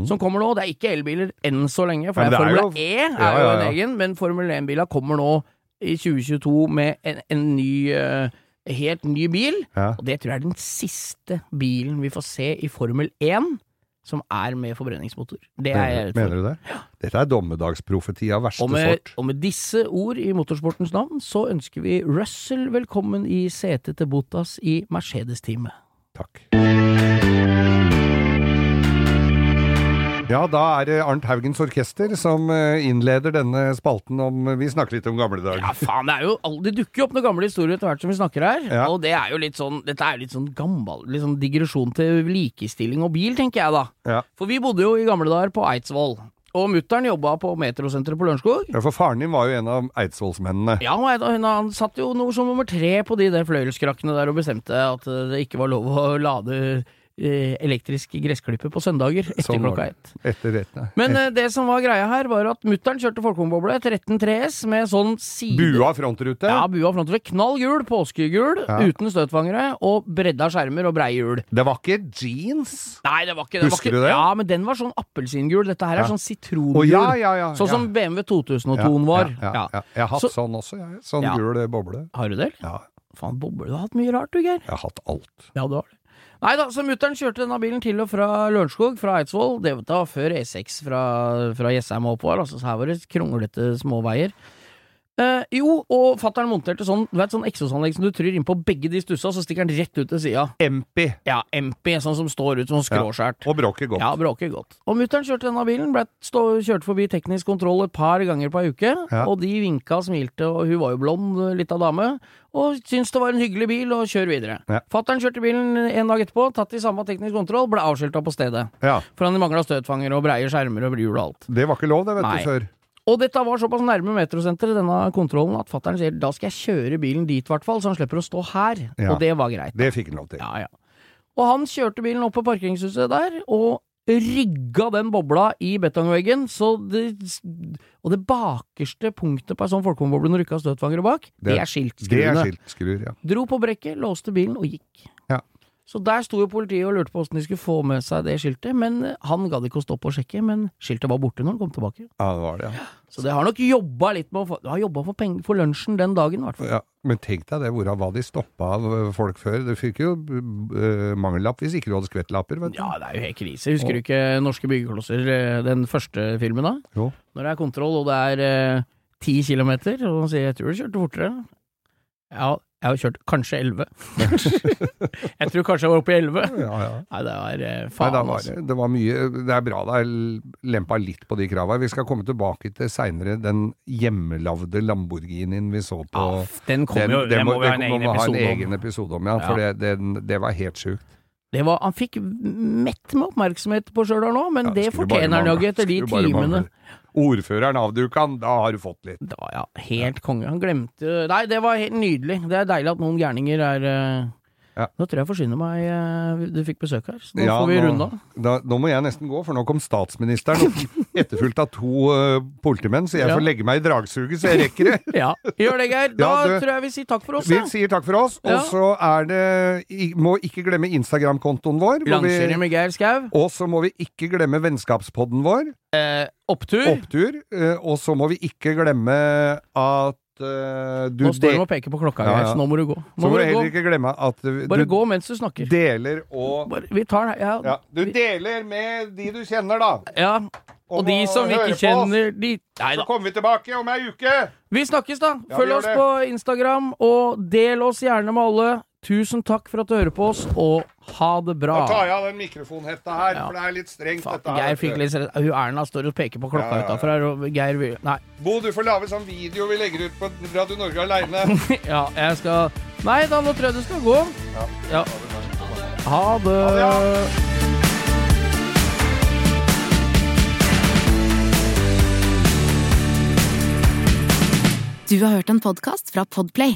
Speaker 3: som kommer nå. Det er ikke elbiler enn så lenge, for
Speaker 2: Mhm. Men
Speaker 3: det er
Speaker 2: det er
Speaker 3: Formel
Speaker 2: jo-
Speaker 3: E er
Speaker 2: Ja,
Speaker 3: jo
Speaker 2: ja,
Speaker 3: en
Speaker 2: ja.
Speaker 3: egen, men Formel 1-biler kommer nå i 2022 med en, en ny eh, Helt ny bil,
Speaker 2: Ja.
Speaker 3: og det tror jeg er den siste bilen vi får se i Formel 1 som er med forbrenningsmotor. Det er jeg
Speaker 2: Mener,
Speaker 3: redd for.
Speaker 2: mener du det? Dette er dommedagsprofeti av verste
Speaker 3: Og med,
Speaker 2: sort.
Speaker 3: og med disse ord i motorsportens navn, så ønsker vi Russell velkommen i setet til Bottas i Mercedes-teamet.
Speaker 2: Takk. Ja, da er det Arnt Haugens Orkester som eh, innleder denne spalten om eh, Vi snakker litt om gamle dager.
Speaker 3: Ja, faen, det, er jo, all- det dukker jo opp noen gamle historier etter hvert som vi snakker her.
Speaker 2: Ja.
Speaker 3: Og det er jo litt sånn, dette er jo litt sånn gammel litt sånn digresjon til likestilling og bil, tenker jeg da.
Speaker 2: Ja.
Speaker 3: For vi bodde jo i gamle dager på Eidsvoll. Og mutter'n jobba på metrosenteret på Lørenskog.
Speaker 2: Ja, for faren din var jo en av Eidsvollsmennene.
Speaker 3: Ja, og Eid- hun, han satt jo noe som nummer tre på de der fløyelskrakkene der og bestemte at eh, det ikke var lov å lade eh, elektrisk gressklipper på søndager etter
Speaker 2: Sånn var
Speaker 3: klokka
Speaker 2: det.
Speaker 3: ett.
Speaker 2: Etter rettene.
Speaker 3: Men eh, det som var greia her, var at mutter'n kjørte folkevognboble 13 3S med sånn side...
Speaker 2: Bua frontrute?
Speaker 3: Ja, bua frontrute. Knall gul, påskegul,
Speaker 2: Ja.
Speaker 3: uten støtfangere, og bredda skjermer og brei hjul.
Speaker 2: Det var ikke jeans?
Speaker 3: Nei, det var ikke det. var
Speaker 2: Husker
Speaker 3: ikke,
Speaker 2: du det?
Speaker 3: Ja, men den var sånn appelsingul. Dette her er
Speaker 2: Ja.
Speaker 3: sånn
Speaker 2: Å
Speaker 3: sitrongul.
Speaker 2: ja, ja, ja.
Speaker 3: Sånn
Speaker 2: ja.
Speaker 3: som BMW 2002
Speaker 2: Ja,
Speaker 3: var.
Speaker 2: Ja, ja, ja. Jeg har hatt
Speaker 3: Så-
Speaker 2: sånn også, jeg. Sånn
Speaker 3: Ja.
Speaker 2: gul eh, boble.
Speaker 3: Har du det, eller?
Speaker 2: Ja,
Speaker 3: Faen, boble, du har hatt mye rart, du, Geir.
Speaker 2: jeg har hatt alt.
Speaker 3: Ja, du har det. Nei da, så mutter'n kjørte denne bilen til og fra Lørenskog, fra Eidsvoll. Det var før E6 fra, fra Jessheim og oppover, altså, så her var det kronglete småveier. Eh, jo, og fatter'n monterte sånn Du vet sånn eksosanlegg som du tryr innpå begge de stussa, så stikker den rett ut til sida.
Speaker 2: Empi.
Speaker 3: Ja, MP, sånn som står ut som skråskjært.
Speaker 2: Og bråket godt.
Speaker 3: Ja, bråker godt. Og mutter'n kjørte denne bilen, ble stå, kjørte forbi teknisk kontroll et par ganger på ei uke,
Speaker 2: Ja.
Speaker 3: og de vinka og smilte, og hun var jo blond, lita dame, og syntes det var en hyggelig bil, og kjør videre.
Speaker 2: Ja.
Speaker 3: Fattern kjørte bilen en dag etterpå, tatt i samme teknisk kontroll, ble avskilta på stedet.
Speaker 2: Ja.
Speaker 3: For han mangla støtfanger og breie skjermer og hjul og alt.
Speaker 2: Det var ikke lov, det, vet
Speaker 3: Nei.
Speaker 2: du, før.
Speaker 3: Og dette var såpass nærme metrosenteret, denne kontrollen, at fattern sier da skal jeg kjøre bilen dit, i hvert fall, så han slipper å stå her.
Speaker 2: Ja.
Speaker 3: Og det var greit.
Speaker 2: Det fikk han lov til.
Speaker 3: Ja, ja. Og han kjørte bilen opp på parkeringshuset der, og rigga den bobla i betongveggen, så det Og det bakerste punktet på ei sånn folkevognboble når du ikke har støtfangere bak, det,
Speaker 2: Det-
Speaker 3: er
Speaker 2: Det er
Speaker 3: skiltskruene.
Speaker 2: skiltskruer, ja.
Speaker 3: Dro på brekket, låste bilen og gikk.
Speaker 2: Ja.
Speaker 3: Så der sto jo politiet og lurte på åssen de skulle få med seg det skiltet, men eh, han gadd ikke å stoppe og sjekke, men skiltet var borte når han kom tilbake.
Speaker 2: ja det var det, ja.
Speaker 3: Så det har nok jobba litt med å få Det har jobba for, peng- for lunsjen den dagen, i hvert fall.
Speaker 2: ja. Men tenk deg det, hvordan var de stoppa av eh, folk før? Du fikk jo eh, mangellapp hvis ikke du hadde skvettlapper, vet du.
Speaker 3: Ja, det er jo helt krise. Husker du ikke Norske byggeklosser, eh, den første filmen da?
Speaker 2: Jo.
Speaker 3: Når det er kontroll, og det er eh, 10 kilometer, og han sier 'jeg tror du kjørte fortere'. Ja, jeg har kjørt kanskje 11. jeg tror kanskje jeg var oppe i 11.
Speaker 2: Ja, ja.
Speaker 3: Nei, det var eh,
Speaker 2: Nei,
Speaker 3: faen,
Speaker 2: da var
Speaker 3: altså.
Speaker 2: det, det var mye Det er bra det er lempa litt på de krava. Vi skal komme tilbake til seinere den hjemmelagde Lamborghinien vi så på.
Speaker 3: Ja, Ah, f- den kom jo,
Speaker 2: Den-
Speaker 3: det
Speaker 2: den
Speaker 3: må vi ha en
Speaker 2: den
Speaker 3: egen
Speaker 2: må vi ha
Speaker 3: episode om.
Speaker 2: egen episode om. Ja,
Speaker 3: Ja.
Speaker 2: for det, den, det var helt sjukt.
Speaker 3: Det var, han fikk mett med oppmerksomhet på Stjørdal nå, men
Speaker 2: Ja,
Speaker 3: det
Speaker 2: skulle bare
Speaker 3: fortjener han jo
Speaker 2: mangle.
Speaker 3: ikke etter de
Speaker 2: Skulle bare
Speaker 3: timene.
Speaker 2: mangle. Ordføreren avduka han, da har du fått litt.
Speaker 3: Da, ja, helt konge. Han glemte Nei, det var helt nydelig. Det er deilig at noen gærninger er eh,
Speaker 2: Ja.
Speaker 3: Nå tror jeg jeg forsyner meg. eh, Du fikk besøk her, så nå
Speaker 2: Ja,
Speaker 3: får vi
Speaker 2: nå-
Speaker 3: runde av.
Speaker 2: Da, nå må jeg nesten gå, for nå kom statsministeren, og etterfulgt av to eh, politimenn, så jeg
Speaker 3: Ja.
Speaker 2: får legge meg i dragsuget så jeg rekker det.
Speaker 3: Ja, gjør det, Geir. Da
Speaker 2: Ja, du-
Speaker 3: tror jeg vi sier takk for oss.
Speaker 2: Vi
Speaker 3: ja.
Speaker 2: sier takk for oss,
Speaker 3: Ja.
Speaker 2: og så er det i- Må ikke glemme Instagram-kontoen vår. hvor vi-
Speaker 3: Langkjøring med Geir Skau.
Speaker 2: Og så må vi ikke glemme vennskapspodden vår,
Speaker 3: Eh, opptur.
Speaker 2: Opptur. eh, Og så må vi ikke glemme at eh, du
Speaker 3: Nå står de
Speaker 2: del-
Speaker 3: og peker på klokka,
Speaker 2: Ja,
Speaker 3: Geir,
Speaker 2: ja.
Speaker 3: så nå må du gå.
Speaker 2: Så
Speaker 3: Nå
Speaker 2: må
Speaker 3: må
Speaker 2: du
Speaker 3: du
Speaker 2: heller
Speaker 3: gå.
Speaker 2: ikke glemme at du,
Speaker 3: Bare
Speaker 2: du
Speaker 3: gå mens du snakker.
Speaker 2: deler og
Speaker 3: Bare, vi tar den.
Speaker 2: ja,
Speaker 3: Ja.
Speaker 2: Du deler med de du kjenner, da.
Speaker 3: ja.
Speaker 2: om
Speaker 3: Og de
Speaker 2: å
Speaker 3: som vi
Speaker 2: høre
Speaker 3: ikke
Speaker 2: på oss.
Speaker 3: kjenner, de
Speaker 2: Så
Speaker 3: Nei da.
Speaker 2: kommer vi tilbake om ei uke!
Speaker 3: Vi snakkes, da.
Speaker 2: Ja, vi
Speaker 3: Følg
Speaker 2: gjør
Speaker 3: oss
Speaker 2: det.
Speaker 3: på Instagram, og del oss gjerne med alle. Tusen takk for at du hører på oss, og ha det
Speaker 2: Da
Speaker 3: bra.
Speaker 2: tar jeg av den mikrofonhetta her,
Speaker 3: Ah. Ja.
Speaker 2: for det er litt strengt,
Speaker 3: Faen,
Speaker 2: dette
Speaker 3: Geir
Speaker 2: her.
Speaker 3: fikk litt Hun Erna står og peker på
Speaker 2: Ja,
Speaker 3: klokka
Speaker 2: ja, ja.
Speaker 3: utafor her, og Geir vil Nei.
Speaker 2: Bo, du får lage sånn video vi legger ut på Radio Norge aleine.
Speaker 3: Ja, jeg skal Nei da, nå tror jeg du skal gå. Ja. Ha
Speaker 2: Ha
Speaker 3: det.
Speaker 2: det, ja.
Speaker 1: Du har hørt en podcast fra Podplay